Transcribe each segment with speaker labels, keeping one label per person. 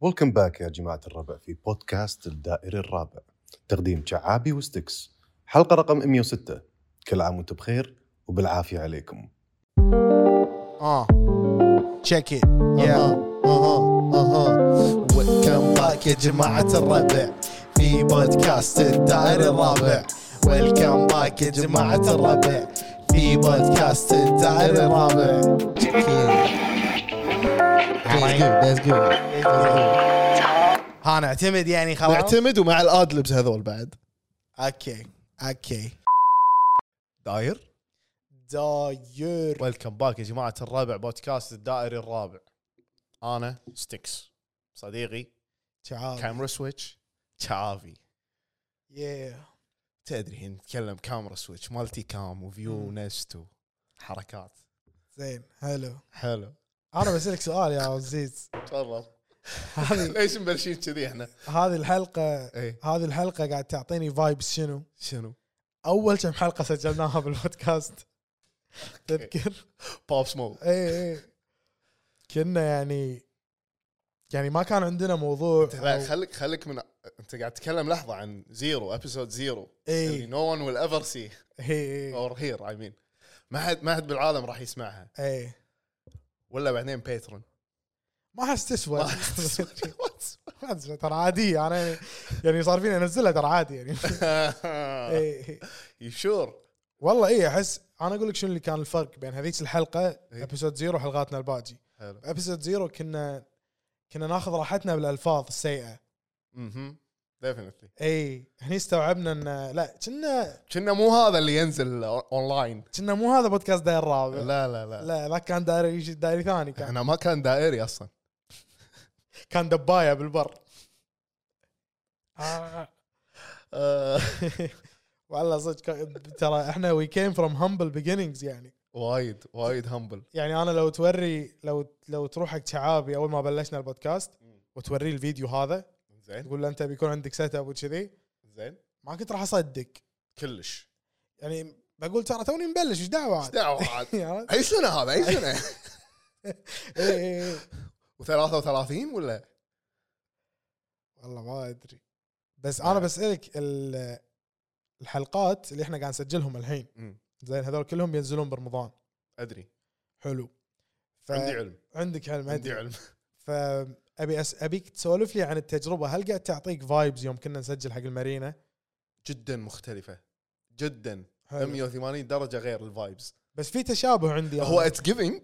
Speaker 1: ولكم باك يا جماعة الربع في بودكاست الدائري الرابع تقديم شعابي وستكس حلقة رقم 106 كل عام وانتم بخير وبالعافية عليكم
Speaker 2: Uh-huh.
Speaker 3: Uh, check it. Yeah.
Speaker 2: اها اها اها ويلكم باك Uh-huh. يا جماعة الربع في بودكاست الدائري الرابع ويلكم باك يا جماعة الربع في بودكاست الدائري الرابع That's good. That's good.
Speaker 3: ها نعتمد يعني خلاص
Speaker 2: نعتمد ومع الادلبس هذول بعد
Speaker 3: اوكي اوكي
Speaker 2: داير
Speaker 3: داير
Speaker 4: ويلكم باك يا جماعة الرابع بودكاست الدائري الرابع أنا ستيكس صديقي
Speaker 3: تعال
Speaker 4: كاميرا سويتش شعافي
Speaker 3: يا
Speaker 4: تدري هنا نتكلم كاميرا سويتش مالتي كام وفيو ونست وحركات
Speaker 3: زين حلو
Speaker 4: حلو
Speaker 3: انا بسالك سؤال يا عزيز
Speaker 4: تفضل
Speaker 3: هذه
Speaker 4: ليش مبلشين كذي احنا؟
Speaker 3: هذه الحلقه
Speaker 4: ايه
Speaker 3: هذه الحلقه قاعد تعطيني فايبس شنو؟
Speaker 4: شنو؟
Speaker 3: اول كم حلقه سجلناها بالبودكاست تذكر؟
Speaker 4: باب سموك
Speaker 3: اي اي كنا يعني يعني ما كان عندنا موضوع
Speaker 4: لا خليك خليك من انت قاعد تتكلم لحظه عن زيرو ابيسود زيرو اللي
Speaker 3: اي
Speaker 4: نو ون ويل ايفر سي
Speaker 3: إيه، اي
Speaker 4: اور هير اي مين ما حد ما حد بالعالم راح يسمعها
Speaker 3: اي
Speaker 4: ولا بعدين باترون
Speaker 3: إيه. ما احس تسوى
Speaker 4: ما-
Speaker 3: ما أدري، ترى عادية انا يعني صار فيني انزلها ترى عادي يعني إيه.
Speaker 4: يو شور
Speaker 3: والله إيه، اي احس انا اقول لك شنو اللي كان الفرق بين هذيك الحلقه ابيسود زيرو وحلقاتنا الباجي
Speaker 4: إيه. حلو
Speaker 3: ابيسود زيرو كنا كنا ناخذ راحتنا بالالفاظ السيئه
Speaker 4: اها ديفنتلي
Speaker 3: اي إيه، هني استوعبنا ان لا كنا
Speaker 4: كنا مو هذا اللي ينزل اونلاين
Speaker 3: كنا مو هذا بودكاست داير الرابع
Speaker 4: لا لا لا
Speaker 3: لا ذاك كان دايري دايري ثاني كان
Speaker 4: احنا ما كان دائري اصلا
Speaker 3: كان دبايه بالبر
Speaker 4: آه،
Speaker 3: والله صدق كان- ترى احنا وي كيم فروم همبل بيجينينجز يعني
Speaker 4: وايد وايد همبل
Speaker 3: يعني انا لو توري لو لو تروح حق شعابي اول ما بلشنا البودكاست وتوريه الفيديو هذا
Speaker 4: زين
Speaker 3: تقول له انت بيكون عندك سيت اب وكذي
Speaker 4: زين
Speaker 3: ما كنت راح اصدق
Speaker 4: كلش
Speaker 3: يعني بقول ترى توني مبلش ايش دعوه
Speaker 4: ايش
Speaker 3: عاد؟
Speaker 4: دعوه عاد
Speaker 3: عرفت؟ إيه،
Speaker 4: اي سنه هذا اي سنه
Speaker 3: إي إي إي.
Speaker 4: و33 ولا
Speaker 3: والله ما ادري بس
Speaker 4: آه.
Speaker 3: انا بسالك ال- الحلقات اللي احنا قاعد نسجلهم الحين
Speaker 4: مم.
Speaker 3: زين هذول كلهم ينزلون برمضان
Speaker 4: ادري
Speaker 3: حلو ف-
Speaker 4: عندي علم
Speaker 3: عندك علم
Speaker 4: عندي
Speaker 3: عندي
Speaker 4: علم
Speaker 3: فابي أس... ابيك تسولف لي عن التجربه هل قاعد تعطيك فايبز يوم كنا نسجل حق المارينا
Speaker 4: جدا مختلفه جدا
Speaker 3: حلو.
Speaker 2: أيوه.
Speaker 4: 180 درجه غير الفايبز
Speaker 3: بس في تشابه عندي
Speaker 4: هو اتس جيفينج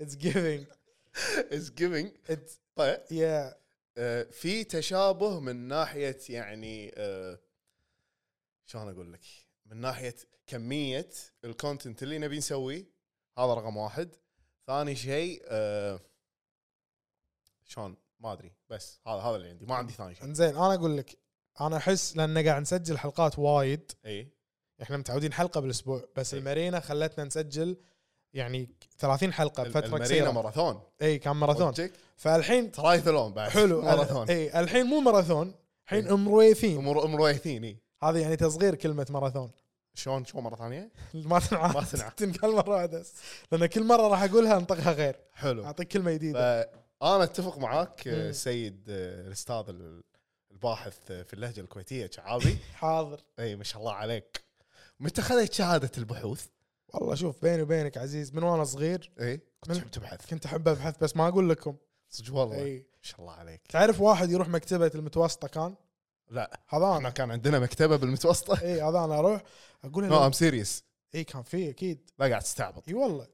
Speaker 3: اتس جيفينج
Speaker 4: اتس جيفينج
Speaker 3: اتس
Speaker 4: طيب
Speaker 3: يا
Speaker 4: آه، في تشابه من ناحيه يعني آه، شلون اقول لك؟ من ناحيه كميه الكونتنت اللي نبي نسويه هذا رقم واحد. ثاني شيء آه، شلون ما ادري بس هذا هذا اللي عندي ما عندي ثاني شيء.
Speaker 3: انزين انا اقول لك انا احس لان قاعد نسجل حلقات وايد
Speaker 4: اي
Speaker 3: احنا متعودين حلقه بالاسبوع بس
Speaker 4: إي.
Speaker 3: المارينا خلتنا نسجل يعني 30 حلقه بفتره
Speaker 4: المارينا
Speaker 3: قصيره
Speaker 4: ماراثون
Speaker 3: اي إيه، كان ماراثون فالحين
Speaker 4: ترايثلون بعد
Speaker 3: حلو إيه.
Speaker 4: ماراثون إيه.
Speaker 3: اي الحين مو ماراثون الحين
Speaker 4: إي.
Speaker 3: امرويثين
Speaker 4: امور امرويثين اي
Speaker 3: هذا يعني تصغير كلمه ماراثون
Speaker 4: إيه. شلون شو مره ثانيه؟
Speaker 3: ما تنعاد
Speaker 4: ما تنعاد.
Speaker 3: تنقال مره واحده بس. لان كل مره راح اقولها انطقها غير
Speaker 4: حلو
Speaker 3: اعطيك كلمه جديده
Speaker 4: فانا اتفق معاك آه،
Speaker 3: مم.
Speaker 4: سيد آه، الاستاذ ال- الباحث آه، في اللهجه الكويتيه شعابي
Speaker 3: حاضر
Speaker 4: اي ما شاء الله عليك متى خذيت شهاده البحوث؟
Speaker 3: والله شوف بيني وبينك عزيز من وانا صغير
Speaker 4: اي
Speaker 3: من-
Speaker 4: كنت تحب تبحث
Speaker 3: كنت إيه. احب ابحث بس ما اقول لكم
Speaker 4: صدق والله ما
Speaker 3: اي
Speaker 4: شاء الله عليك
Speaker 3: تعرف واحد يروح مكتبه المتوسطه كان
Speaker 4: لا
Speaker 3: هذا
Speaker 4: احنا
Speaker 3: انا
Speaker 4: كان عندنا مكتبه بالمتوسطه
Speaker 3: اي إيه، هذا انا اروح اقول
Speaker 4: نو
Speaker 3: له
Speaker 4: ام سيريس
Speaker 3: اي إيه، كان في اكيد
Speaker 4: لا قاعد تستعبط
Speaker 3: اي والله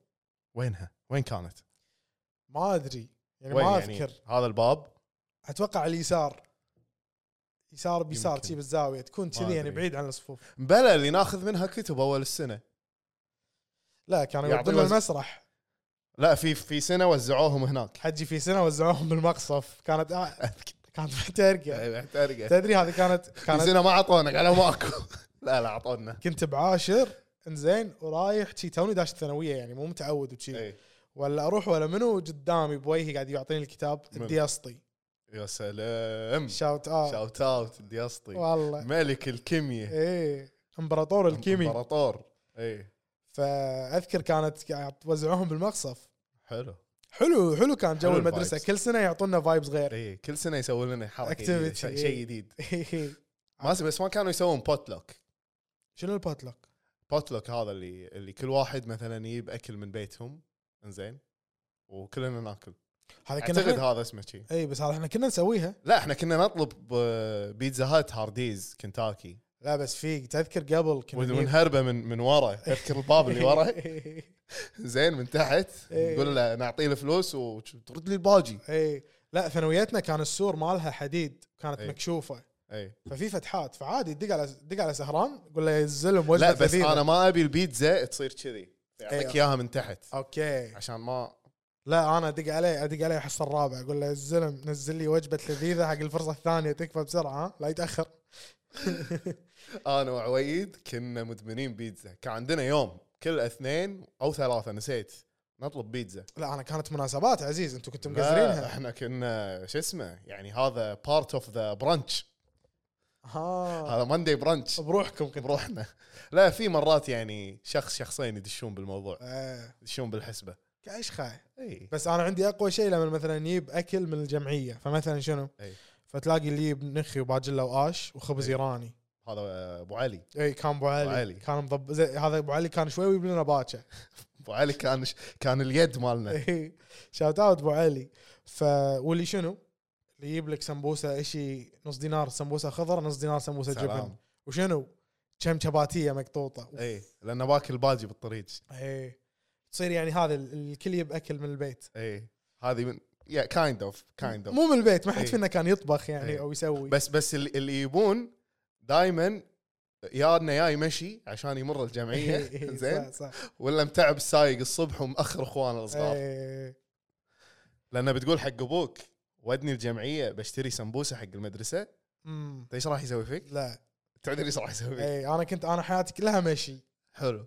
Speaker 4: وينها؟ وين كانت؟
Speaker 3: ما ادري يعني
Speaker 4: وين
Speaker 3: ما
Speaker 4: يعني؟
Speaker 3: اذكر
Speaker 4: هذا الباب
Speaker 3: اتوقع على اليسار يسار بيسار
Speaker 4: يمكن.
Speaker 3: كذي بالزاويه تكون كذي يعني
Speaker 4: أدري.
Speaker 3: بعيد عن الصفوف
Speaker 4: بلا اللي ناخذ منها كتب اول السنه
Speaker 3: لا كانوا
Speaker 4: يعطي
Speaker 3: يودون
Speaker 4: وزن.
Speaker 3: المسرح
Speaker 4: لا في في سنه وزعوهم هناك
Speaker 3: حجي في سنه وزعوهم بالمقصف كانت آه، كانت محترقه
Speaker 4: أي، محترقه
Speaker 3: تدري هذه كانت
Speaker 4: في
Speaker 3: كانت
Speaker 4: سنه ما اعطونا قالوا ماكو لا لا اعطونا
Speaker 3: كنت بعاشر انزين ورايح شي توني داش الثانويه يعني مو متعود وشي
Speaker 4: اي
Speaker 3: ولا اروح ولا منو قدامي بوجهي قاعد يعطيني الكتاب
Speaker 4: من؟
Speaker 3: الديسطي
Speaker 4: يا سلام
Speaker 3: شاوت اوت
Speaker 4: شاوت اوت الديسطي
Speaker 3: والله
Speaker 4: ملك الكيمياء
Speaker 3: ايه امبراطور الكيمي
Speaker 4: امبراطور اي
Speaker 3: فاذكر كانت قاعد توزعوهم بالمقصف
Speaker 4: حلو
Speaker 3: حلو حلو كان جو
Speaker 4: حلو
Speaker 3: المدرسه
Speaker 4: الvibes.
Speaker 3: كل سنه يعطونا فايبز غير
Speaker 4: اي إيه، كل سنه يسوون لنا حركه
Speaker 3: Activity، إيه.
Speaker 4: جديدة، شيء
Speaker 3: إي.
Speaker 4: شيء جديد ما أدري، بس ما كانوا يسوون بوتلوك
Speaker 3: شنو الباتلوك؟
Speaker 4: بوتلوك هذا اللي اللي كل واحد مثلا يجيب اكل من بيتهم انزين وكلنا ناكل
Speaker 3: هذا كنا
Speaker 4: اعتقد
Speaker 3: احنا-
Speaker 4: هذا اسمه شيء
Speaker 3: اي بس هذا احنا كنا نسويها
Speaker 4: لا احنا كنا نطلب آه، بيتزا هات هارديز كنتاكي
Speaker 3: لا بس في تذكر قبل كنا نجيب-
Speaker 4: ونهربه من من ورا تذكر الباب اللي ورا زين من تحت
Speaker 3: إيه.
Speaker 4: نقول له نعطيه الفلوس وترد لي الباجي
Speaker 3: اي إيه. لا ثانويتنا كان السور مالها حديد كانت
Speaker 4: إي.
Speaker 3: مكشوفه
Speaker 4: اي
Speaker 3: ففي فتحات فعادي دق على دق على سهران قول له يزلم وجهه
Speaker 4: لا بس
Speaker 3: لذيذة.
Speaker 4: انا ما ابي البيتزا تصير كذي يعطيك
Speaker 3: إيه.
Speaker 4: اياها من تحت
Speaker 3: اوكي
Speaker 4: عشان ما
Speaker 3: لا انا ادق عليه ادق عليه حصه الرابع اقول له الزلم نزل لي وجبه لذيذه حق الفرصه الثانيه تكفى بسرعه ها لا يتاخر
Speaker 4: انا وعويد كنا مدمنين بيتزا كان عندنا يوم كل اثنين او ثلاثه نسيت نطلب بيتزا
Speaker 3: لا انا كانت مناسبات عزيز انتم كنتم
Speaker 4: لا،
Speaker 3: مقزرينها
Speaker 4: احنا كنا شو اسمه يعني هذا بارت اوف ذا برانش
Speaker 3: ها
Speaker 4: هذا ماندي برانش
Speaker 3: آه. بروحكم كنت
Speaker 4: بروحنا لا في مرات يعني شخص شخصين يدشون بالموضوع
Speaker 3: ايه
Speaker 4: يدشون بالحسبه
Speaker 3: كاشخه
Speaker 4: اي
Speaker 3: بس انا عندي اقوى شيء لما مثلا يجيب اكل من الجمعيه فمثلا شنو؟
Speaker 4: أي.
Speaker 3: فتلاقي اللي يجيب نخي وباجله واش وخبز
Speaker 4: أي.
Speaker 3: ايراني
Speaker 4: هذا ابو علي
Speaker 3: اي كان ابو علي,
Speaker 4: أبو علي.
Speaker 3: كان مضب زي هذا ابو علي كان شوي ويجيب لنا باكر
Speaker 4: ابو علي كان كان اليد
Speaker 3: إيه.
Speaker 4: مالنا
Speaker 3: شاوت اوت ابو علي ف واللي شنو؟ اللي يجيب لك سمبوسه شيء نص دينار سمبوسه خضر نص دينار سمبوسه
Speaker 4: سلام. إيه.
Speaker 3: جبن وشنو؟ كم شباتيه مقطوطه
Speaker 4: اي لانه باكل باجي بالطريق
Speaker 3: اي تصير يعني هذا ال- الكل يجيب اكل من البيت
Speaker 4: اي إيه، هذه من يا كايند اوف كايند اوف
Speaker 3: مو من البيت ما حد
Speaker 4: أي.
Speaker 3: فينا كان يطبخ يعني
Speaker 4: أي.
Speaker 3: او يسوي
Speaker 4: نعم. إيه. بس بس اللي اللي يبون دائما يا انه يا يمشي عشان يمر الجمعيه
Speaker 3: إي،
Speaker 4: زين
Speaker 3: إيه، صح صح
Speaker 4: ولا متعب السايق الصبح ومأخر اخوانه الصغار
Speaker 3: إيه.
Speaker 4: لانه بتقول حق ابوك ودني الجمعيه بشتري سمبوسه حق المدرسه انت
Speaker 3: أمم.
Speaker 4: ايش راح يسوي فيك؟
Speaker 3: لا
Speaker 4: تعرف ايش راح يسوي فيك؟
Speaker 3: اي انا كنت انا حياتي كلها مشي
Speaker 4: حلو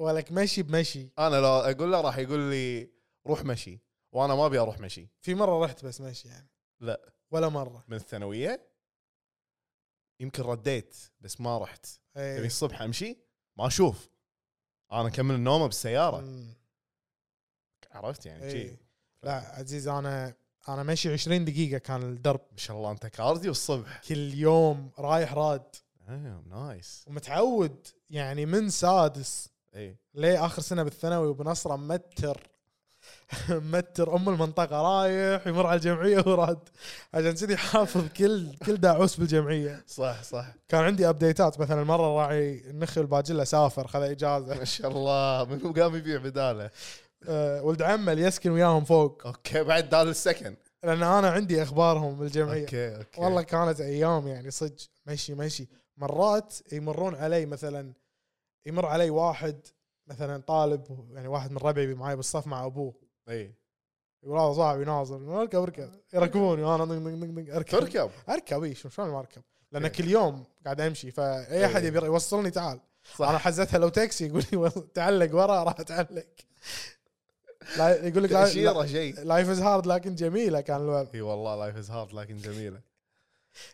Speaker 3: ولك مشي بمشي
Speaker 4: انا لو اقول له راح يقول لي روح مشي وانا ما ابي اروح مشي
Speaker 3: في مره رحت بس مشي يعني
Speaker 4: لا.
Speaker 3: ولا مره
Speaker 4: من الثانويه يمكن رديت بس ما رحت تبي
Speaker 3: إي.
Speaker 4: يعني الصبح امشي ما اشوف انا اكمل النومه بالسياره
Speaker 3: أمم.
Speaker 4: عرفت يعني
Speaker 3: إي.
Speaker 4: شي.
Speaker 3: إيه. لا عزيز انا انا ماشي 20 دقيقه كان الدرب
Speaker 4: ما شاء الله انت كارديو الصبح
Speaker 3: كل يوم رايح راد
Speaker 4: Damn, نايس إيه.
Speaker 3: ومتعود يعني من سادس
Speaker 4: اي
Speaker 3: ليه اخر سنه بالثانوي وبنصره متر متر ام المنطقه رايح يمر على الجمعيه وراد عشان كذي حافظ كل كل داعوس بالجمعيه
Speaker 4: صح صح
Speaker 3: كان عندي ابديتات مثلا مره راعي النخل الباجله سافر خذ اجازه
Speaker 4: ما شاء الله منو قام يبيع بداله
Speaker 3: أه، ولد عمه اللي يسكن وياهم فوق
Speaker 4: اوكي بعد دال السكن
Speaker 3: لان انا عندي اخبارهم بالجمعيه
Speaker 4: اوكي اوكي
Speaker 3: والله كانت ايام يعني صدق مشي مشي مرات يمرون علي مثلا يمر علي واحد مثلا طالب يعني واحد من ربعي معي بالصف مع ابوه
Speaker 4: اي
Speaker 3: يقول هذا صاحبي ناظر اركب اركب يركبوني وانا دق دق دق دق اركب
Speaker 4: تركب
Speaker 3: اركب اي شو- شلون ما اركب؟ لان
Speaker 4: إيه.
Speaker 3: كل يوم قاعد امشي فاي احد
Speaker 4: إيه.
Speaker 3: يبي يوصلني تعال
Speaker 4: صح.
Speaker 3: انا حزتها لو تاكسي يقول لي والله تعلق ورا راح اتعلق لا يقول لك
Speaker 4: تاشيره شيء
Speaker 3: لايف از هارد لكن جميله كان الوضع
Speaker 4: اي والله لايف از هارد لكن جميله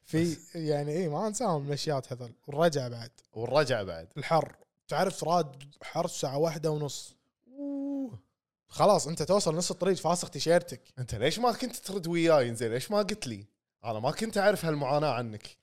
Speaker 3: في يعني اي ما انساهم المشيات هذول والرجع بعد
Speaker 4: والرجعه بعد
Speaker 3: الحر تعرف راد حر الساعه واحدة ونص خلاص انت توصل نص الطريق فاسخ تيشيرتك
Speaker 4: انت ليش ما كنت ترد وياي زين ليش ما قلت لي؟ انا ما كنت اعرف هالمعاناه عنك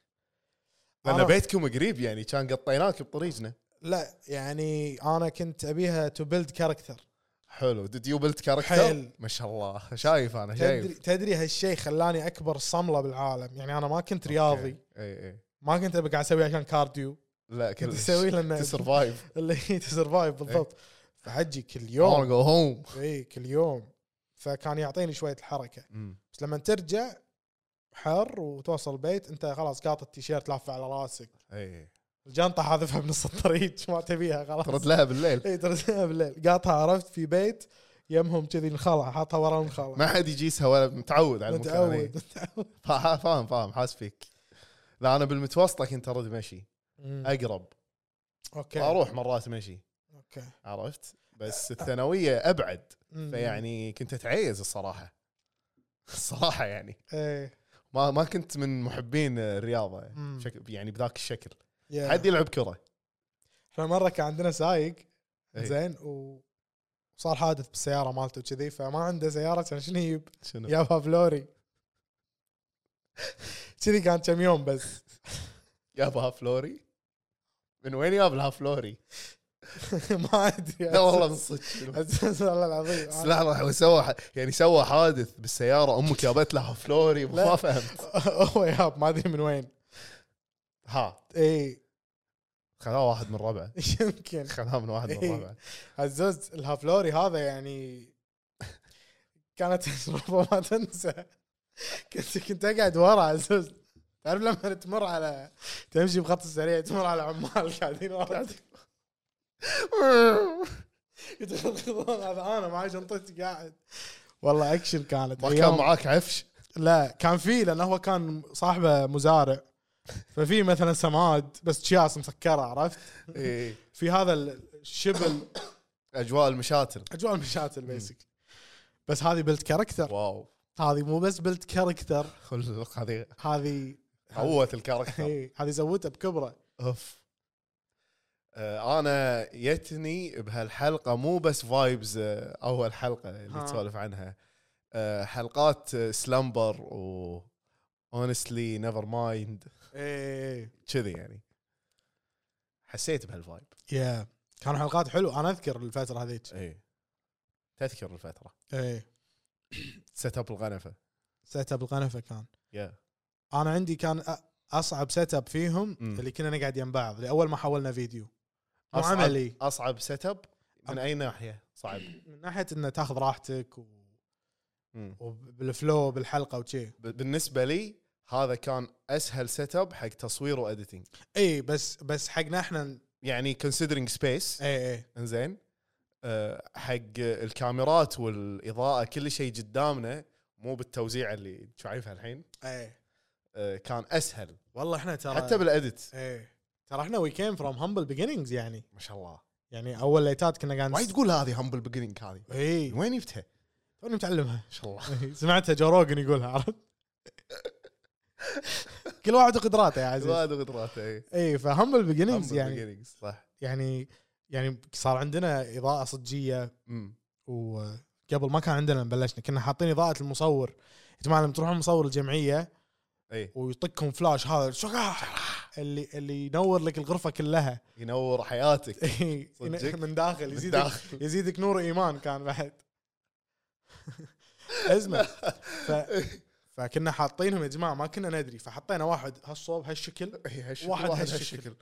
Speaker 4: لان
Speaker 3: أنا-
Speaker 4: بيتكم قريب يعني كان قطيناك بطريقنا
Speaker 3: لا يعني انا كنت ابيها تو بيلد كاركتر
Speaker 4: حلو ديد يو بلت كاركتر
Speaker 3: حيل.
Speaker 4: ما شاء الله شايف انا
Speaker 3: تدري
Speaker 4: شايف
Speaker 3: تدري هالشيء خلاني اكبر صمله بالعالم يعني انا ما كنت رياضي
Speaker 4: اي اي
Speaker 3: ما كنت ابي قاعد اسوي عشان كارديو
Speaker 4: إيه، لا
Speaker 3: كنت
Speaker 4: كنت
Speaker 3: اسوي لان
Speaker 4: تسرفايف
Speaker 3: اللي تسرفايف بالضبط فحجي كل يوم
Speaker 4: انا جو هوم
Speaker 3: اي كل يوم فكان يعطيني شويه الحركه بس لما ترجع حر وتوصل البيت انت خلاص قاطع التيشيرت لافه على راسك
Speaker 4: اي
Speaker 3: الجنطه حاذفها بنص الطريق ما تبيها
Speaker 4: ترد
Speaker 3: خلاص
Speaker 4: لها بالليل
Speaker 3: اي تردها بالليل قاطها عرفت في بيت يمهم كذي الخلع حاطها ورا الخلع
Speaker 4: ما يعني حد يجيسها ولا متعود على المكان إي.
Speaker 3: متعود متعود
Speaker 4: فا- فاهم فاهم حاس فيك لا انا بالمتوسطه كنت ارد مشي اقرب
Speaker 3: اوكي
Speaker 4: اروح مرات مشي
Speaker 3: اوكي
Speaker 4: عرفت بس الثانويه ابعد
Speaker 3: مم.
Speaker 4: فيعني كنت اتعيز الصراحه الصراحه يعني
Speaker 3: ايه
Speaker 4: ما ما كنت من محبين الرياضه
Speaker 3: مم.
Speaker 4: شكل يعني بذاك الشكل
Speaker 3: يا.
Speaker 4: حد يلعب كره
Speaker 3: احنا مره كان عندنا سايق
Speaker 4: إيه.
Speaker 3: زين و صار حادث بالسياره مالته كذي فما عنده سياره كان شنو يجيب؟
Speaker 4: شنو
Speaker 3: جابها فلوري كذي كان كم يوم بس
Speaker 4: جابها فلوري من وين جاب لها فلوري؟
Speaker 3: ما ادري
Speaker 4: لا والله من صدق
Speaker 3: أساس والله العظيم أنا-
Speaker 4: لا راح سوى ح- يعني سوى حادث بالسياره امك جابت لها فلوري
Speaker 3: لا.
Speaker 4: ما فهمت
Speaker 3: هو ياب ما ادري من وين
Speaker 4: ها
Speaker 3: اي
Speaker 4: خذاه واحد من ربعه
Speaker 3: يمكن
Speaker 4: خذاه من واحد من
Speaker 3: إيه.
Speaker 4: ربعه
Speaker 3: الزوز الهافلوري هذا يعني كانت تجربه ما تنسى كنت كنت اقعد ورا عزوز تعرف لما تمر على تمشي بخط السريع تمر على عمال قاعدين ورا يتخضون هذا انا معي شنطتي قاعد والله اكشن كانت
Speaker 4: ما
Speaker 3: أيام-
Speaker 4: كان معاك عفش
Speaker 3: لا كان في لانه هو كان صاحبه مزارع ففي مثلا سماد بس شياس مسكره عرفت
Speaker 4: إيه.
Speaker 3: في هذا الشبل
Speaker 4: اجواء المشاتل
Speaker 3: اجواء المشاتل بيسك بس هذه بلد كاركتر
Speaker 4: واو
Speaker 3: هذه مو بس بلد كاركتر
Speaker 4: خلق هذه
Speaker 3: هذه
Speaker 4: قوة الكاركتر
Speaker 3: إيه، هذه زودتها بكبره
Speaker 4: اوف آه، انا يتني بهالحلقه مو بس فايبز اول حلقه اللي
Speaker 3: ها.
Speaker 4: تسولف عنها آه، حلقات سلمبر و اونستلي نيفر مايند
Speaker 3: ايه
Speaker 4: كذي يعني حسيت بهالفايب
Speaker 3: يا إيه. كانوا حلقات حلوه انا اذكر الفتره هذيك
Speaker 4: اي تذكر الفتره
Speaker 3: ايه
Speaker 4: سيت اب الغنفه
Speaker 3: سيت اب القنفه كان
Speaker 4: يا
Speaker 3: انا عندي كان أ- اصعب سيت اب فيهم
Speaker 4: مم.
Speaker 3: اللي كنا نقعد يم بعض لاول ما حولنا فيديو مو
Speaker 4: أصعب-
Speaker 3: عملي
Speaker 4: اصعب سيت اب من
Speaker 3: أب-
Speaker 4: اي ناحيه صعب
Speaker 3: من ناحيه انه تاخذ راحتك و...
Speaker 4: مم.
Speaker 3: وبالفلو بالحلقه وشي
Speaker 4: ب- بالنسبه لي هذا كان اسهل سيت اب حق تصوير واديتنج
Speaker 3: اي بس بس حقنا احنا
Speaker 4: يعني كونسيدرينج سبيس
Speaker 3: اي اي
Speaker 4: انزين آه، حق الكاميرات والاضاءه كل شيء قدامنا مو بالتوزيع اللي شايفها الحين
Speaker 3: اي
Speaker 4: آه، كان اسهل
Speaker 3: والله احنا ترى
Speaker 4: حتى بالاديت
Speaker 3: ايه ترى احنا وي كيم فروم همبل بيجينينجز يعني
Speaker 4: ما شاء الله
Speaker 3: يعني اول ليتات كنا قاعد
Speaker 4: وايد تقول هذه همبل بيجنينج هذه
Speaker 3: اي
Speaker 4: وين جبتها؟ ما
Speaker 3: توني متعلمها
Speaker 4: شاء الله
Speaker 3: إي، سمعتها جو روجن يقولها عرفت كل واحد وقدراته يا عزيز
Speaker 4: زاد قدراته اي
Speaker 3: اي فهمبل بيجينينجز
Speaker 4: همبل
Speaker 3: يعني
Speaker 4: بيجنينج إيه. صح
Speaker 3: يعني يعني صار عندنا اضاءه صجيه
Speaker 4: مم.
Speaker 3: وقبل ما كان عندنا بلشنا كنا حاطين اضاءه المصور يا جماعه لما تروحون مصور الجمعيه
Speaker 4: اي
Speaker 3: ويطقكم فلاش هذا شقاح اللي اللي ينور لك الغرفه كلها
Speaker 4: ينور حياتك
Speaker 3: إي،
Speaker 4: صدق؟
Speaker 3: من داخل
Speaker 4: من
Speaker 3: يزيدك
Speaker 4: داخل.
Speaker 3: يزيدك نور ايمان كان بعد ازمه ف... فكنا حاطينهم يا جماعه ما كنا ندري فحطينا واحد هالصوب هالشكل
Speaker 4: إي، هالشكل،
Speaker 3: واحد هالشكل.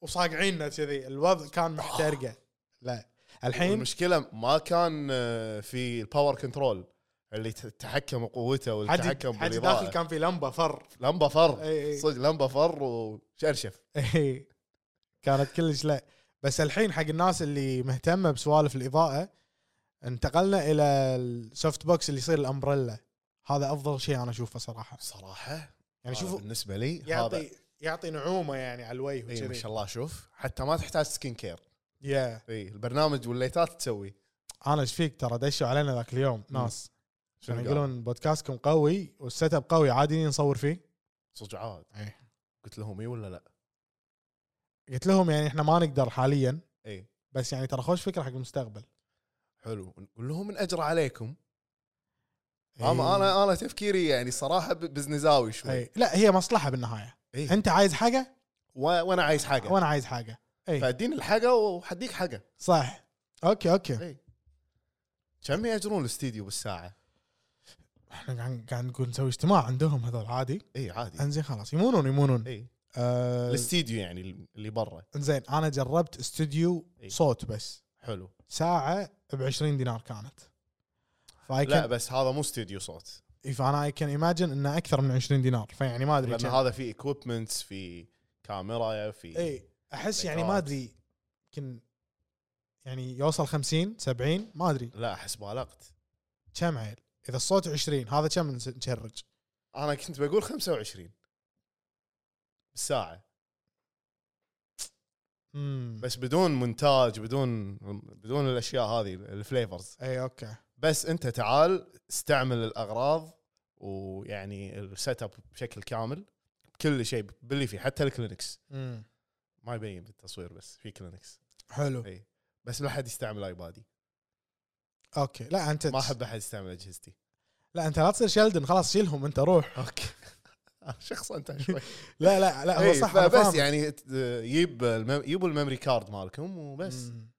Speaker 3: وصاقعيننا كذي الوضع كان محترقه لا الحين
Speaker 4: المشكله ما كان آه، في الباور كنترول اللي ت- تحكم قوته واللي
Speaker 3: حد
Speaker 4: تحكم
Speaker 3: حد داخل إيه.
Speaker 4: بالاضاءه
Speaker 3: كان في لمبه فر
Speaker 4: لمبه فر
Speaker 3: اي إي.
Speaker 4: صدق لمبه فر وشرشف
Speaker 3: إي. إيه، كانت كلش لا بس الحين حق الناس اللي مهتمه بسوالف الاضاءه انتقلنا الى السوفت بوكس اللي يصير الامبريلا هذا افضل شيء انا اشوفه صراحه
Speaker 4: صراحه
Speaker 3: يعني
Speaker 4: هذا
Speaker 3: شوفوا
Speaker 4: بالنسبه لي هذا
Speaker 3: يعطي يعطي نعومه يعني على الوجه
Speaker 4: اي ما
Speaker 3: وكذي.
Speaker 4: شاء الله شوف حتى ما تحتاج سكين كير
Speaker 3: يا
Speaker 4: اي البرنامج والليتات تسوي
Speaker 3: انا ايش فيك ترى دشوا علينا ذاك اليوم ناس
Speaker 4: شنو
Speaker 3: كانوا
Speaker 4: قال؟
Speaker 3: يقولون بودكاستكم قوي والسيت اب قوي عادي نصور فيه
Speaker 4: صدق عاد
Speaker 3: إي.
Speaker 4: قلت لهم اي ولا لا
Speaker 3: قلت لهم يعني احنا ما نقدر حاليا
Speaker 4: اي
Speaker 3: بس يعني ترى خوش فكره حق المستقبل
Speaker 4: حلو نقول لهم من اجر عليكم
Speaker 3: إي.
Speaker 4: اما انا انا تفكيري يعني صراحه ب- بزنزاوي شوي
Speaker 3: إي. لا هي مصلحه بالنهايه
Speaker 4: إي.
Speaker 3: انت عايز حاجه
Speaker 4: و- وانا عايز حاجه
Speaker 3: وانا عايز حاجه
Speaker 4: فاديني الحاجه وحديك حاجه
Speaker 3: صح اوكي اوكي
Speaker 4: إي. كم ياجرون الاستديو بالساعه؟
Speaker 3: احنا قاعد قاعد نقول نسوي اجتماع عندهم هذول عادي
Speaker 4: اي إيه، عادي
Speaker 3: انزين خلاص يمونون يمونون
Speaker 4: اي
Speaker 3: آه
Speaker 4: الاستديو يعني اللي برا
Speaker 3: انزين انا جربت استوديو
Speaker 4: إي.
Speaker 3: صوت بس
Speaker 4: حلو
Speaker 3: ساعه ب 20 دينار كانت فاي
Speaker 4: لا
Speaker 3: كان
Speaker 4: بس هذا مو استديو صوت
Speaker 3: فانا اي كان ايماجن انه اكثر من 20 دينار فيعني ما ادري
Speaker 4: لان
Speaker 3: كم.
Speaker 4: هذا في اكويبمنتس في كاميرا في
Speaker 3: اي احس يعني ما
Speaker 4: ليتات.
Speaker 3: ادري يمكن يعني يوصل 50 70 ما ادري
Speaker 4: لا احس بالغت
Speaker 3: كم عيل اذا الصوت 20 هذا كم نس- نشرج
Speaker 4: انا كنت بقول 25 بالساعه
Speaker 3: امم
Speaker 4: بس بدون مونتاج بدون بدون الاشياء هذه الفليفرز
Speaker 3: اي اوكي
Speaker 4: بس انت تعال استعمل الاغراض ويعني السيت اب بشكل كامل كل شيء باللي فيه حتى الكلينكس
Speaker 3: امم
Speaker 4: ما يبين بالتصوير بس في كلينكس
Speaker 3: حلو
Speaker 4: إي. بس لا حد يستعمل ايبادي
Speaker 3: اوكي لا انت
Speaker 4: ما احب احد يستعمل اجهزتي
Speaker 3: لا انت لا تصير شلدن خلاص شيلهم انت روح
Speaker 4: اوكي شخصا انت شوي
Speaker 3: لا لا لا هو
Speaker 4: اي
Speaker 3: صح أنا
Speaker 4: فبس
Speaker 3: فاهم.
Speaker 4: يعني ت- جيب المم... جيبوا الميموري كارد مالكم وبس
Speaker 3: مم.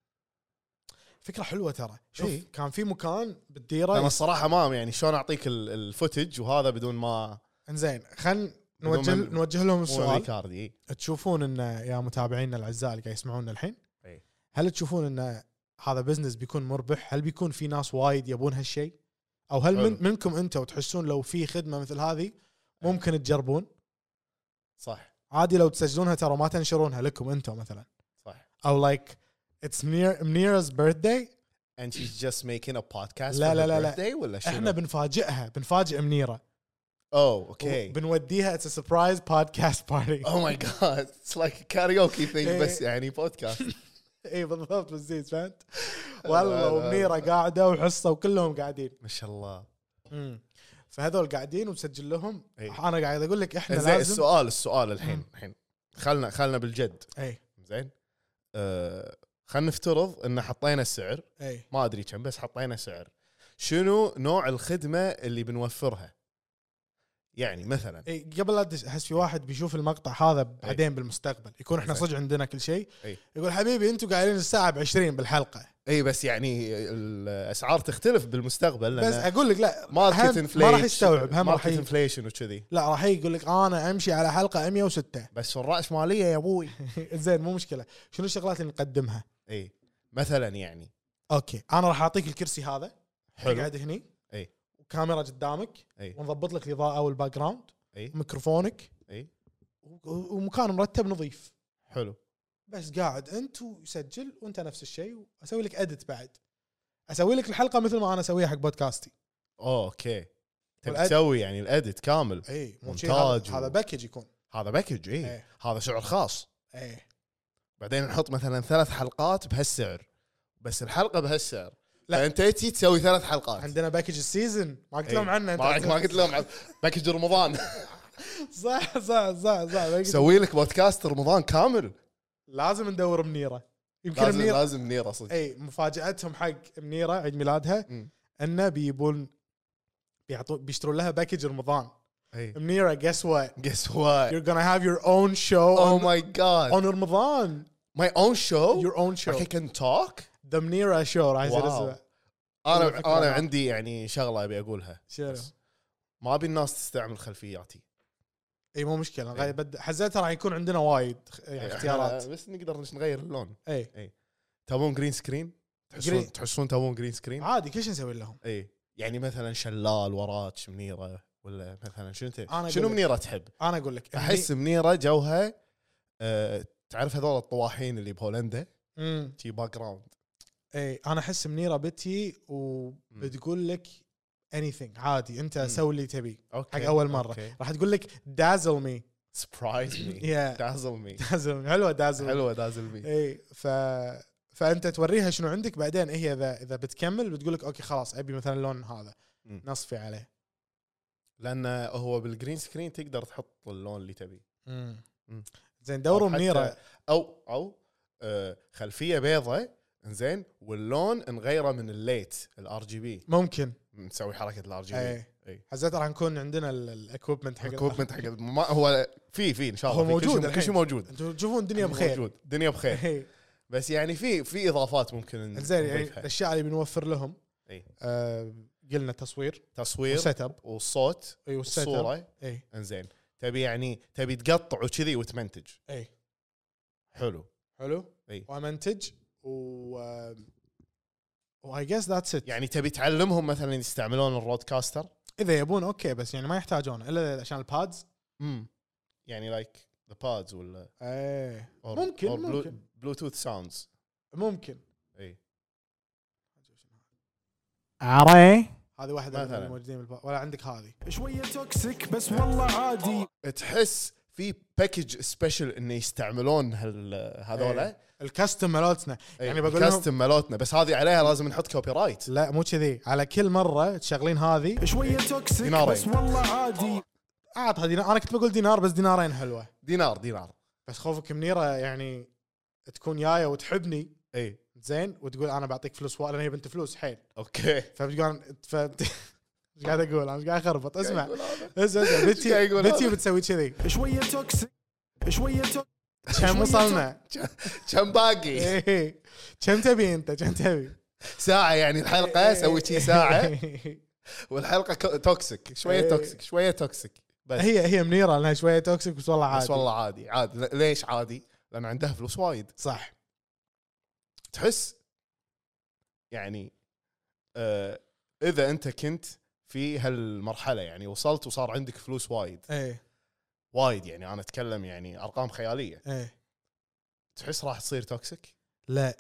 Speaker 3: فكره حلوه ترى شوف
Speaker 4: إيه.
Speaker 3: كان في مكان
Speaker 4: انا
Speaker 3: بالديره
Speaker 4: الصراحه ما يعني شلون اعطيك ال- الفوتج وهذا بدون ما
Speaker 3: انزين خلينا
Speaker 4: بدون
Speaker 3: نوجه
Speaker 4: مم-
Speaker 3: نوجه لهم
Speaker 4: ميموري
Speaker 3: السؤال
Speaker 4: كارد اي
Speaker 3: تشوفون ان يا متابعينا الاعزاء اللي قاعد يسمعونا الحين
Speaker 4: إيه.
Speaker 3: هل تشوفون ان هذا بزنس بيكون مربح؟ هل بيكون في ناس وايد يبون هالشيء؟ او هل
Speaker 4: حلو.
Speaker 3: من منكم انتم تحسون لو في خدمه مثل هذه ممكن تجربون؟
Speaker 4: صح
Speaker 3: عادي لو تسجلونها ترى ما تنشرونها لكم انتم مثلا
Speaker 4: صح
Speaker 3: او لايك اتس نير منيرز بيرثداي
Speaker 4: and she's just making a podcast
Speaker 3: لا-
Speaker 4: for
Speaker 3: لا-
Speaker 4: her
Speaker 3: لا- لا.
Speaker 4: birthday ولا شنو؟
Speaker 3: احنا بنفاجئها بنفاجئ منيره
Speaker 4: اوه اوكي
Speaker 3: بنوديها اتس سربرايز بودكاست بارتي
Speaker 4: اوه ماي جاد اتس لايك كاريوكي
Speaker 3: إيه.
Speaker 4: ثينج بس يعني بودكاست
Speaker 3: اي إيه، بالضبط بالزيت فهمت؟
Speaker 4: لا-
Speaker 3: والله
Speaker 4: لا.
Speaker 3: ومنيره قاعده وحصه وكلهم قاعدين
Speaker 4: ما شاء الله
Speaker 3: فهذول قاعدين ومسجل لهم
Speaker 4: إي.
Speaker 3: انا قاعد اقول لك احنا
Speaker 4: زين
Speaker 3: لازم
Speaker 4: إيه. السؤال السؤال الحين
Speaker 3: مم.
Speaker 4: الحين خلنا خلنا بالجد
Speaker 3: اي
Speaker 4: زين خلينا نفترض ان حطينا السعر
Speaker 3: اي
Speaker 4: ما ادري كم بس حطينا سعر شنو نوع الخدمه اللي بنوفرها يعني مثلا
Speaker 3: اي إيه، قبل لا أدش- احس في واحد بيشوف المقطع هذا
Speaker 4: إيه.
Speaker 3: بعدين بالمستقبل يكون احنا
Speaker 4: زين.
Speaker 3: صدق عندنا كل شيء
Speaker 4: إي.
Speaker 3: يقول حبيبي انتم قاعدين الساعه ب 20 بالحلقه
Speaker 4: اي بس يعني الاسعار تختلف بالمستقبل
Speaker 3: بس
Speaker 4: لان
Speaker 3: اقول لك لا
Speaker 4: ماركت
Speaker 3: هم- ما راح يستوعب هم
Speaker 4: ماركت
Speaker 3: راح ي-
Speaker 4: انفليشن وكذي
Speaker 3: لا راح يقول لك انا امشي على حلقه 106
Speaker 4: بس الراس ماليه يا ابوي
Speaker 3: زين مو مشكله شنو الشغلات اللي نقدمها؟
Speaker 4: اي مثلا إيه، يعني
Speaker 3: اوكي انا راح اعطيك الكرسي هذا
Speaker 4: حلو
Speaker 3: قاعد هني
Speaker 4: إي.
Speaker 3: وكاميرا قدامك
Speaker 4: إي.
Speaker 3: ونضبط لك الاضاءه والباك جراوند
Speaker 4: اي
Speaker 3: ميكروفونك
Speaker 4: اي
Speaker 3: و- ومكان مرتب نظيف
Speaker 4: إيه، حلو
Speaker 3: بس قاعد انت ويسجل وانت نفس الشيء واسوي لك ادت بعد اسوي لك الحلقه مثل ما انا اسويها حق بودكاستي
Speaker 4: أوه، اوكي تبي
Speaker 3: والأد-
Speaker 4: تسوي يعني الاديت كامل
Speaker 3: اي مو
Speaker 4: مونتاج
Speaker 3: شيء هذا
Speaker 4: و-
Speaker 3: هذا باكج يكون
Speaker 4: هذا باكج اي
Speaker 3: إيه.
Speaker 4: هذا سعر خاص
Speaker 3: اي
Speaker 4: بعدين نحط مثلا ثلاث حلقات بهالسعر بس الحلقه بهالسعر
Speaker 3: لا.
Speaker 4: لا انت تجي تسوي ثلاث حلقات
Speaker 3: عندنا باكج السيزون ما قلت
Speaker 4: إيه.
Speaker 3: لهم عنه
Speaker 4: ما ما قلت لهم عن- باكج رمضان
Speaker 3: صح صح صح صح باكج-
Speaker 4: سوي لك بودكاست رمضان كامل
Speaker 3: لازم ندور منيره يمكن
Speaker 4: لازم
Speaker 3: منيره
Speaker 4: لازم منيره صدق
Speaker 3: اي مفاجاتهم حق منيره عيد ميلادها
Speaker 4: مم.
Speaker 3: انه بيبون بيعطوا بيشترون لها باكج رمضان
Speaker 4: اي
Speaker 3: منيره guess what
Speaker 4: جس وات
Speaker 3: you're gonna have your own show
Speaker 4: او
Speaker 3: on,
Speaker 4: ماي جاد
Speaker 3: on رمضان
Speaker 4: ماي اون شو
Speaker 3: Oh your own show Oh,
Speaker 4: I can talk
Speaker 3: ذا منيرا شو راح يصير
Speaker 4: واو.
Speaker 3: اسمه
Speaker 4: انا
Speaker 3: الفكرة
Speaker 4: انا
Speaker 3: لا.
Speaker 4: عندي يعني شغله ابي اقولها
Speaker 3: شنو؟
Speaker 4: بس ما ابي الناس تستعمل خلفياتي
Speaker 3: اي إيه، مو مشكله
Speaker 4: إي.
Speaker 3: غير بد... حزتها راح يكون عندنا وايد خ- يعني
Speaker 4: إحنا
Speaker 3: اختيارات إيه.
Speaker 4: بس نقدر نش- نغير اللون
Speaker 3: اي
Speaker 4: تبون جرين سكرين تحسون
Speaker 3: Green- آه.
Speaker 4: تحسون تبون جرين سكرين
Speaker 3: عادي كل شيء نسوي لهم
Speaker 4: اي يعني مثلا شلال وراك منيره ولا مثلا شنو انت
Speaker 3: أقول
Speaker 4: شنو
Speaker 3: لك.
Speaker 4: منيره تحب؟
Speaker 3: انا اقول لك
Speaker 4: احس منيره جوها أه تعرف هذول الطواحين اللي بهولندا
Speaker 3: امم
Speaker 4: شي باك جراوند
Speaker 3: اي انا احس منيره بتي وبتقول لك anything عادي انت سوي اللي تبيه
Speaker 4: اوكي
Speaker 3: حق اول مره راح تقول لك دازل مي
Speaker 4: سبرايز مي
Speaker 3: يا
Speaker 4: دازل مي
Speaker 3: دازل حلوه دازل
Speaker 4: حلوه دازل مي
Speaker 3: اي إيه، ف فانت توريها شنو عندك بعدين هي اذا اذا بتكمل بتقول لك اوكي خلاص ابي مثلا اللون هذا
Speaker 4: مم.
Speaker 3: نصفي عليه
Speaker 4: لان هو بالجرين سكرين تقدر تحط اللون اللي تبيه مم.
Speaker 3: زين دوروا
Speaker 4: أو حتى-
Speaker 3: منيره
Speaker 4: او او أه خلفيه بيضة زين واللون نغيره من الليت الار جي بي
Speaker 3: ممكن
Speaker 4: نسوي حركه الار جي بي
Speaker 3: اي حزت راح نكون عندنا الاكوبمنت إيه. حق
Speaker 4: الكوبمنت حق الم- ما هو في في ان شاء الله
Speaker 3: هو
Speaker 4: في كل شيء-
Speaker 3: موجود
Speaker 4: كل شيء
Speaker 3: الحين.
Speaker 4: موجود
Speaker 3: انتم تشوفون الدنيا بخير
Speaker 4: موجود إيه. دنيا بخير
Speaker 3: إي.
Speaker 4: بس يعني في في اضافات ممكن
Speaker 3: زين يعني
Speaker 4: نضيفها.
Speaker 3: الاشياء اللي بنوفر لهم
Speaker 4: إي.
Speaker 3: آه، قلنا تصوير أيوة،
Speaker 4: تصوير
Speaker 3: وسيت اب
Speaker 4: والصوت
Speaker 3: اي والسيت اب
Speaker 4: والصوره
Speaker 3: اي
Speaker 4: انزين تبي يعني تبي تقطع وكذي وتمنتج
Speaker 3: اي
Speaker 4: حلو إيه.
Speaker 3: حلو
Speaker 4: إي.
Speaker 3: وامنتج و واي جيس ذاتس ات
Speaker 4: يعني تبي تعلمهم مثلا يستعملون الرودكاستر
Speaker 3: اذا يبون اوكي بس يعني ما يحتاجون الا عشان البادز
Speaker 4: امم يعني لايك ذا بادز ولا
Speaker 3: ايه
Speaker 4: or-
Speaker 3: ممكن،
Speaker 4: or بلو-
Speaker 3: ممكن.
Speaker 4: بلوتوث ساوندز
Speaker 3: ممكن
Speaker 4: اي
Speaker 3: عري هذه واحده من
Speaker 4: مثلاً.
Speaker 3: الموجودين بالب- ولا عندك هذه
Speaker 5: شوية توكسيك بس والله عادي
Speaker 4: تحس في باكج سبيشل انه يستعملون هال هذولا
Speaker 3: الكاستم مالتنا إيه.
Speaker 4: إيه،
Speaker 3: يعني بقول لهم-
Speaker 4: الكاستم مالتنا بس هذه عليها لازم نحط كوبي رايت
Speaker 3: لا مو كذي على كل مره تشغلين هذه
Speaker 5: شوية توكسيك
Speaker 4: دينارين.
Speaker 5: بس والله عادي
Speaker 3: اعطها دينار انا كنت بقول دينار بس دينارين حلوه
Speaker 4: دينار دينار
Speaker 3: بس خوفك منيره يعني تكون جايه وتحبني
Speaker 4: اي
Speaker 3: زين وتقول انا بعطيك فلوس وايد لان هي بنت فلوس حيل
Speaker 4: اوكي
Speaker 3: فبتقول فبت... ايش قاعد اقول انا ايش قاعد اخربط اسمع
Speaker 4: يقول هذا.
Speaker 3: اسمع اسمع
Speaker 4: إيش قاعد
Speaker 3: بنتي
Speaker 4: يقول
Speaker 3: بنتي
Speaker 4: هذا؟
Speaker 3: بتسوي كذي
Speaker 5: شوية توكسيك شوية توكسيك
Speaker 3: كم وصلنا؟
Speaker 4: كم باقي
Speaker 3: إيه. كم تبي انت كم تبي؟
Speaker 4: ساعه يعني
Speaker 3: إيه.
Speaker 4: الحلقه سوي شي ساعه والحلقه كو- توكسيك شويه
Speaker 3: إيه.
Speaker 4: توكسيك شويه توكسيك بس
Speaker 3: هي هي منيره لانها شويه توكسيك بس والله عادي
Speaker 4: بس والله عادي عادي ل- ليش عادي؟ لان عندها فلوس وايد
Speaker 3: صح
Speaker 4: تحس يعني آه اذا انت كنت في هالمرحله يعني وصلت وصار عندك فلوس وايد
Speaker 3: ايه
Speaker 4: وايد يعني انا اتكلم يعني ارقام خياليه
Speaker 3: ايه
Speaker 4: تحس راح تصير توكسيك
Speaker 3: لا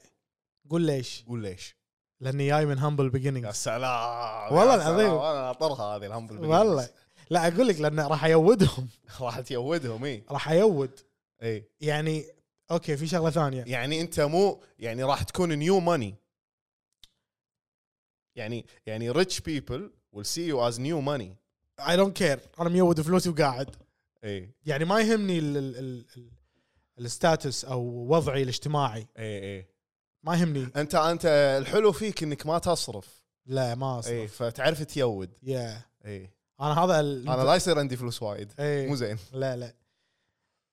Speaker 3: قول ليش؟
Speaker 4: قول ليش
Speaker 3: لاني جاي من هامبل
Speaker 4: يا
Speaker 3: بيجينينج
Speaker 4: سلام
Speaker 3: والله
Speaker 4: يا سلام.
Speaker 3: العظيم.
Speaker 4: انا ناطرها هذه الهامبل beginnings.
Speaker 3: والله لا اقول لك لانه راح يودهم
Speaker 4: راح تيودهم اي
Speaker 3: راح يود
Speaker 4: اي
Speaker 3: يعني اوكي في شغله ثانيه
Speaker 4: يعني انت مو يعني راح تكون نيو ماني يعني يعني ريتش بيبل ويل سي يو از نيو ماني
Speaker 3: اي دونت كير انا ميود فلوسي وقاعد
Speaker 4: اي
Speaker 3: يعني ما يهمني ال ال ال ال- الستاتس او وضعي الاجتماعي
Speaker 4: اي اي
Speaker 3: ما يهمني
Speaker 4: انت انت الحلو فيك انك ما تصرف
Speaker 3: لا ما
Speaker 4: اي
Speaker 3: اصرف
Speaker 4: فتعرف تيود
Speaker 3: يا
Speaker 4: اي
Speaker 3: انا هذا ال-
Speaker 4: انا لا يصير عندي فلوس وايد
Speaker 3: إيه.
Speaker 4: مو زين
Speaker 3: لا لا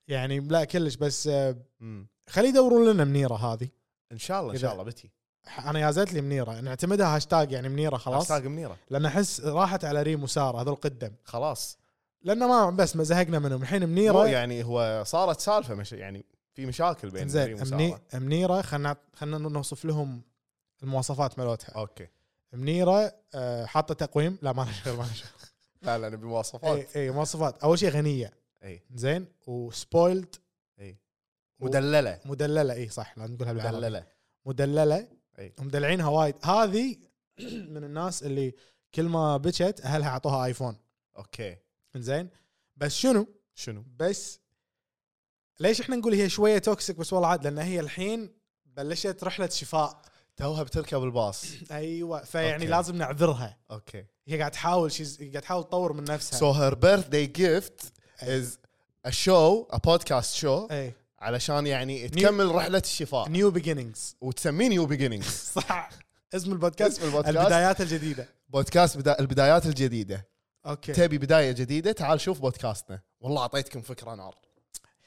Speaker 3: يعني لا كلش بس آه،
Speaker 4: مم.
Speaker 3: خلي يدورون لنا منيره هذه
Speaker 4: ان شاء الله ان
Speaker 3: إذا-
Speaker 4: شاء الله بتي
Speaker 3: ح- انا يازت لي منيره نعتمدها هاشتاج يعني منيره خلاص
Speaker 4: هاشتاج منيره
Speaker 3: لان احس راحت على ريم وساره هذول قدم
Speaker 4: خلاص
Speaker 3: لان ما بس ما زهقنا منهم الحين
Speaker 4: مو
Speaker 3: منيره
Speaker 4: يعني هو صارت سالفه مش يعني في مشاكل بين
Speaker 3: زين
Speaker 4: مريم وسارة.
Speaker 3: مني- منيره خلنا خلنا نوصف لهم المواصفات مالتها
Speaker 4: اوكي
Speaker 3: منيره آه، حاطه تقويم لا ما لها شغل ما لها شغل
Speaker 4: لا لا نبي
Speaker 3: اي
Speaker 4: مواصفات إيه.
Speaker 3: اي إيه، مواصفات اول شيء غنيه
Speaker 4: اي
Speaker 3: زين وسبويلد
Speaker 4: مدلله
Speaker 3: مدلله اي صح لا نقولها بالعربي
Speaker 4: مدلله
Speaker 3: مدلله
Speaker 4: إي.
Speaker 3: ومدلعينها وايد هذه من الناس اللي كل ما بكت اهلها اعطوها ايفون
Speaker 4: اوكي
Speaker 3: زين بس شنو
Speaker 4: شنو
Speaker 3: بس ليش احنا نقول هي شويه توكسيك بس والله عاد لان هي الحين بلشت رحله شفاء
Speaker 4: توها بتركب الباص
Speaker 3: ايوه فيعني
Speaker 4: أوكي.
Speaker 3: لازم نعذرها
Speaker 4: اوكي
Speaker 3: هي قاعد تحاول شيز قاعد تحاول تطور من نفسها
Speaker 4: سو هير بيرثداي جيفت از ا شو ا بودكاست شو
Speaker 3: اي
Speaker 4: علشان يعني تكمل رحله الشفاء
Speaker 3: نيو بيجينينجز
Speaker 4: وتسميه نيو بيجينينجز
Speaker 3: صح اسم البودكاست
Speaker 4: اسم البودكاست.
Speaker 3: البدايات الجديده
Speaker 4: بودكاست بدا البدايات الجديده
Speaker 3: اوكي
Speaker 4: تبي بدايه جديده تعال شوف بودكاستنا والله اعطيتكم فكره نار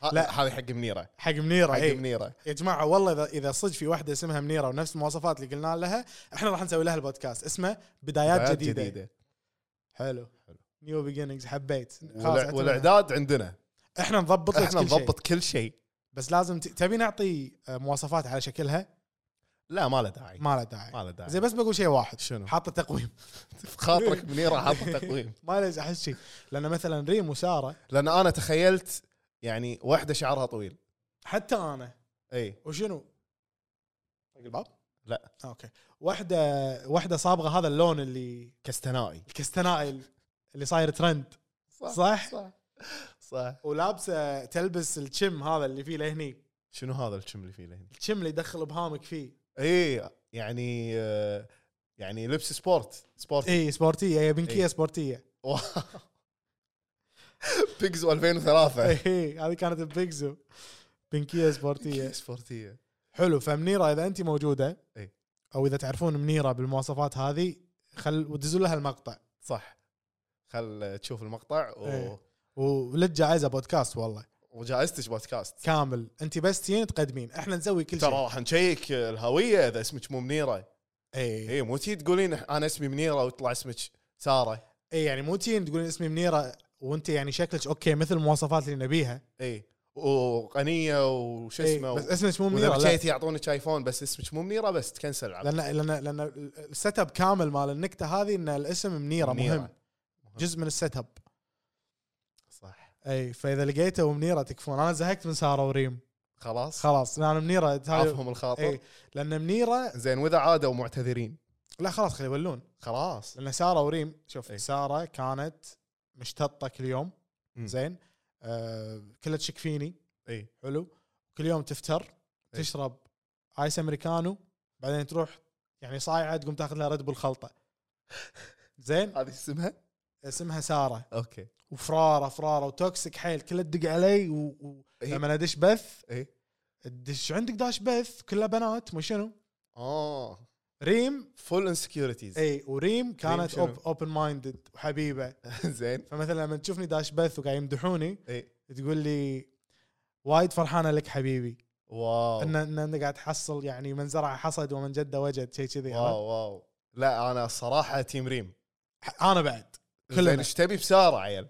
Speaker 4: ه-
Speaker 3: لا.
Speaker 4: هذه حق منيره
Speaker 3: حق منيره
Speaker 4: حق
Speaker 3: اي
Speaker 4: منيره
Speaker 3: يا جماعه والله اذا اذا صدق في واحده اسمها منيره ونفس المواصفات اللي قلنا لها احنا راح نسوي لها البودكاست اسمه بدايات,
Speaker 4: بدايات
Speaker 3: جديده,
Speaker 4: جديده
Speaker 3: حلو حلو نيو بيجينينجز حبيت خلاص
Speaker 4: والع-
Speaker 3: اعتمد.
Speaker 4: والاعداد عندنا
Speaker 3: احنا نضبط لك
Speaker 4: احنا
Speaker 3: كل شيء.
Speaker 4: نضبط كل شيء
Speaker 3: بس لازم ت... تبي نعطي آه، مواصفات على شكلها
Speaker 4: لا ما له داعي
Speaker 3: ما له داعي
Speaker 4: ما له داعي
Speaker 3: زين بس بقول شيء واحد
Speaker 4: شنو؟
Speaker 3: حاطه تقويم
Speaker 4: في خاطرك منيره حاطه تقويم
Speaker 3: ما ليش احس شيء لان مثلا ريم وساره
Speaker 4: لان انا تخيلت يعني واحده شعرها طويل إيه.
Speaker 3: حتى انا
Speaker 4: اي
Speaker 3: وشنو؟ طق الباب؟
Speaker 4: لا
Speaker 3: اوكي واحده واحده صابغه هذا اللون اللي
Speaker 4: كستنائي
Speaker 3: الكستنائي اللي صاير ترند صح؟
Speaker 4: صح صح
Speaker 3: ولابسه تلبس الشم هذا اللي فيه لهني
Speaker 4: شنو هذا الشم اللي فيه لهنا؟
Speaker 3: الشم اللي يدخل ابهامك فيه
Speaker 4: اي يعني آه، يعني لبس سبورت سبورت
Speaker 3: اي سبورتيه إيه، هي بنكيه
Speaker 4: إي.
Speaker 3: سبورتيه
Speaker 4: واو. بيجزو 2003
Speaker 3: اي إيه، هذه كانت ببيكزو بنكيه سبورتيه
Speaker 4: كيس سبورتيه
Speaker 3: حلو فمنيره اذا انت موجوده
Speaker 4: إي.
Speaker 3: او اذا تعرفون منيره بالمواصفات هذه خل ودزوا لها المقطع
Speaker 4: صح خل تشوف المقطع و...
Speaker 3: إيه. ولك جائزه بودكاست والله
Speaker 4: وجائزتك بودكاست
Speaker 3: كامل انت بس تجين تقدمين احنا نسوي كل
Speaker 4: ترى
Speaker 3: شيء
Speaker 4: راح نشيك الهويه اذا اسمك مو منيره
Speaker 3: اي
Speaker 4: اي مو تي تقولين انا اسمي منيره ويطلع اسمك ساره
Speaker 3: اي يعني مو تجين تقولين اسمي منيره وانت يعني شكلك اوكي مثل المواصفات اللي نبيها
Speaker 4: اي وغنيه إيه. وش
Speaker 3: إي،
Speaker 4: اسمه
Speaker 3: إيه، بس اسمك مو
Speaker 4: واذا
Speaker 3: منيره لا.
Speaker 4: مشيتي يعطونك ايفون بس اسمك مو منيره بس تكنسل على
Speaker 3: لان لان لان السيت اب كامل مال النكته هذه ان الاسم
Speaker 4: منيرة.
Speaker 3: منيره, منيرة. مهم جزء من السيت اب
Speaker 4: صح
Speaker 3: اي فاذا لقيته ومنيره تكفون انا زهقت من ساره وريم
Speaker 4: خلاص
Speaker 3: خلاص انا منيره هاي- إيه.
Speaker 4: عافهم الخاطر
Speaker 3: اي لان منيره
Speaker 4: زين واذا عادوا معتذرين
Speaker 3: لا خلاص خلي يولون
Speaker 4: خلاص إيه.
Speaker 3: لان ساره وريم شوف
Speaker 4: إي.
Speaker 3: أي. ساره كانت مشتطه كل يوم
Speaker 4: مم. إيه.
Speaker 3: زين آه كلها تشك فيني
Speaker 4: اي
Speaker 3: حلو كل يوم تفتر
Speaker 4: إيه.
Speaker 3: تشرب ايس امريكانو بعدين تروح يعني صايعه تقوم تاخذ لها رد بالخلطه زين
Speaker 4: هذه اسمها
Speaker 3: اسمها ساره
Speaker 4: اوكي
Speaker 3: وفراره فراره وتوكسيك حيل كلها تدق علي و... و...
Speaker 4: إي.
Speaker 3: لما ادش بث
Speaker 4: إي.
Speaker 3: تدش عندك داش بث كلها بنات مو شنو
Speaker 4: اه
Speaker 3: ريم
Speaker 4: فول انسكيورتيز
Speaker 3: اي إيه، وريم كانت
Speaker 4: شنو؟
Speaker 3: اوبن مايندد وحبيبه
Speaker 4: زين
Speaker 3: فمثلا لما تشوفني داش بث وقاعد يمدحوني
Speaker 4: اي
Speaker 3: تقول لي وايد فرحانه لك حبيبي
Speaker 4: واو
Speaker 3: ان ان انت قاعد تحصل يعني من زرع حصد ومن جد وجد شيء كذي
Speaker 4: واو واو لا انا الصراحه تيم ريم
Speaker 3: انا بعد كلنا.
Speaker 4: زين ايش تبي بساره عيل؟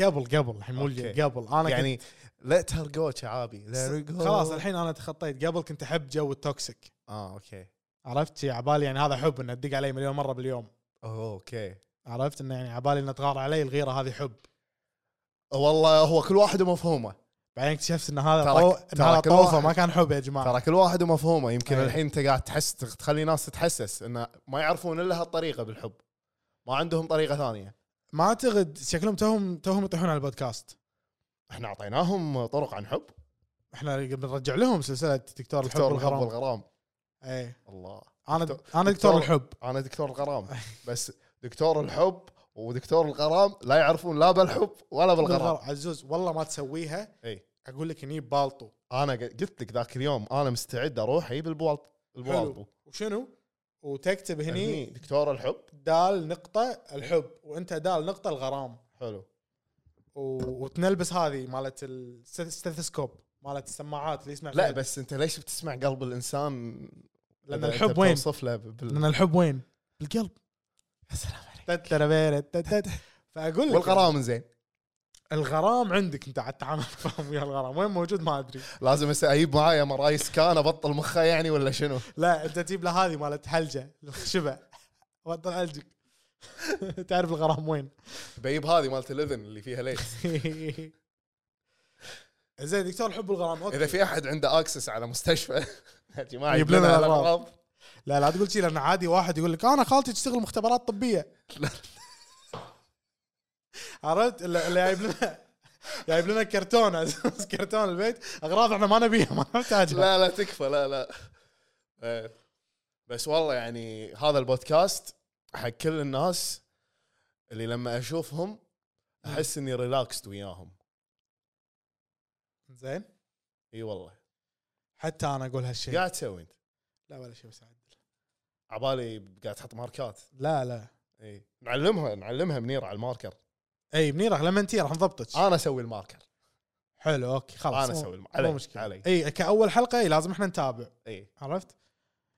Speaker 3: قبل قبل الحين مو
Speaker 4: أوكي.
Speaker 3: اليوم، قبل انا يعني
Speaker 4: يعني ليت هير جو شعابي let her go.
Speaker 3: خلاص الحين انا تخطيت قبل كنت احب جو التوكسيك
Speaker 4: اه اوكي
Speaker 3: عرفت شي عبالي يعني هذا حب انه تدق علي مليون مره باليوم
Speaker 4: أوه، اوكي
Speaker 3: عرفت انه يعني عبالي انه تغار علي الغيره هذه حب
Speaker 4: والله هو كل واحد ومفهومه
Speaker 3: بعدين اكتشفت ان هذا
Speaker 4: ترى-
Speaker 3: طو... ان
Speaker 4: ترى
Speaker 3: هذا
Speaker 4: كل
Speaker 3: طوفه
Speaker 4: واحد-
Speaker 3: ما كان حب يا جماعه
Speaker 4: ترى كل واحد ومفهومه يمكن
Speaker 3: أي.
Speaker 4: الحين انت قاعد تحس تخلي ناس تتحسس انه ما يعرفون الا هالطريقه بالحب ما عندهم طريقه ثانيه
Speaker 3: ما اعتقد شكلهم توهم توهم يطيحون على البودكاست
Speaker 4: احنا اعطيناهم طرق عن حب
Speaker 3: احنا بنرجع لهم سلسله دكتور الحب
Speaker 4: دكتور الحب
Speaker 3: والغرام
Speaker 4: والغرام
Speaker 3: اي
Speaker 4: الله
Speaker 3: انا
Speaker 4: دكتور-
Speaker 3: انا دكتور الحب
Speaker 4: انا دكتور الغرام بس دكتور الحب ودكتور الغرام لا يعرفون لا بالحب ولا بالغرام
Speaker 3: بالغرام. عزوز والله ما تسويها
Speaker 4: اي
Speaker 3: اقول لك اني بالطو
Speaker 4: انا ق- قلت لك ذاك اليوم انا مستعد اروح اجيب البوالط البوالطو
Speaker 3: وشنو؟ وتكتب
Speaker 4: هني
Speaker 3: هني
Speaker 4: دكتور الحب
Speaker 3: دال نقطه الحب وانت دال نقطه الغرام
Speaker 4: حلو
Speaker 3: و... وتنلبس هذه مالت الستيثوسكوب مالت السماعات اللي يسمع
Speaker 4: لا
Speaker 3: فيها.
Speaker 4: بس انت ليش بتسمع قلب الانسان
Speaker 3: لان
Speaker 4: إذا أنت
Speaker 3: الحب وين؟
Speaker 4: بتوصف له بال...
Speaker 3: لان الحب وين؟ بالقلب
Speaker 4: يا سلام عليك
Speaker 3: تتربيرت، تتت. فاقول لك
Speaker 4: والغرام زين
Speaker 3: الغرام عندك انت على التعامل فاهم ويا الغرام وين موجود ما ادري
Speaker 4: لازم هسه اجيب معايا مراي سكان ابطل مخه يعني ولا شنو؟
Speaker 3: لا انت تجيب له هذه مالت حلجه الخشبه وطل حلجك تعرف الغرام وين
Speaker 4: بجيب هذه مالت الاذن اللي فيها ليت
Speaker 3: زين دكتور حب الغرام اوكي
Speaker 4: اذا في احد عنده اكسس على مستشفى يا جماعه
Speaker 3: يجيب لنا الأغراض. لا لا تقول شي لان عادي واحد يقول لك انا خالتي تشتغل مختبرات طبيه عرفت اللي اللي جايب لنا جايب لنا كرتون عزوز، كرتون البيت اغراض احنا ما نبيها ما نحتاجها
Speaker 4: لا لا تكفى لا لا إيه. بس والله يعني هذا البودكاست حق كل الناس اللي لما اشوفهم احس اني ريلاكست وياهم
Speaker 3: زين
Speaker 4: اي والله
Speaker 3: حتى انا اقول هالشيء
Speaker 4: قاعد تسوي انت
Speaker 3: لا ولا شيء بس عدل
Speaker 4: عبالي قاعد تحط ماركات
Speaker 3: لا لا
Speaker 4: اي نعلمها نعلمها منير على الماركر
Speaker 3: اي منيره لما انتي راح نضبطك
Speaker 4: انا اسوي الماركر
Speaker 3: حلو اوكي خلاص
Speaker 4: انا
Speaker 3: مو-
Speaker 4: اسوي الم-
Speaker 3: مو
Speaker 4: علي
Speaker 3: مشكله
Speaker 4: علي
Speaker 3: اي كاول حلقه اي لازم احنا نتابع
Speaker 4: اي
Speaker 3: عرفت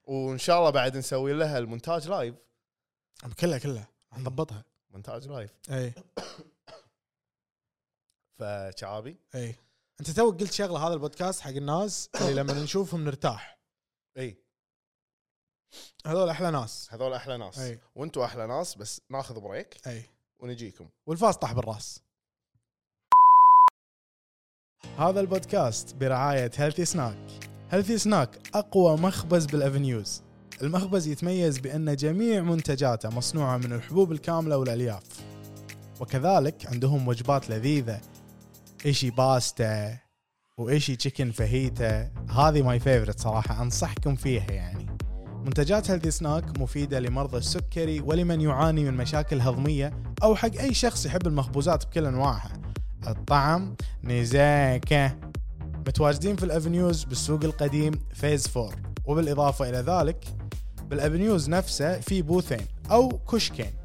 Speaker 4: وان شاء الله بعد نسوي لها المونتاج لايف
Speaker 3: كلها كلها نضبطها
Speaker 4: مونتاج لايف
Speaker 3: اي
Speaker 4: فشعابي
Speaker 3: اي انت تو قلت شغله هذا البودكاست حق الناس اللي لما نشوفهم نرتاح
Speaker 4: اي
Speaker 3: هذول احلى ناس
Speaker 4: هذول احلى ناس
Speaker 3: أي.
Speaker 4: وانتوا احلى ناس بس ناخذ بريك
Speaker 3: اي
Speaker 4: ونجيكم
Speaker 3: والفاس طاح بالراس هذا البودكاست برعاية هيلثي سناك هيلثي سناك أقوى مخبز بالأفنيوز المخبز يتميز بأن جميع منتجاته مصنوعة من الحبوب الكاملة والألياف وكذلك عندهم وجبات لذيذة إيشي باستا وإيشي تشيكن فهيتا هذه ماي فيفرت صراحة أنصحكم فيها يعني منتجات هيلثي سناك مفيدة لمرضى السكري ولمن يعاني من مشاكل هضمية أو حق أي شخص يحب المخبوزات بكل أنواعها الطعم نزاكة متواجدين في الأفنيوز بالسوق القديم فيز 4 وبالإضافة إلى ذلك بالأفنيوز نفسه في بوثين أو كشكين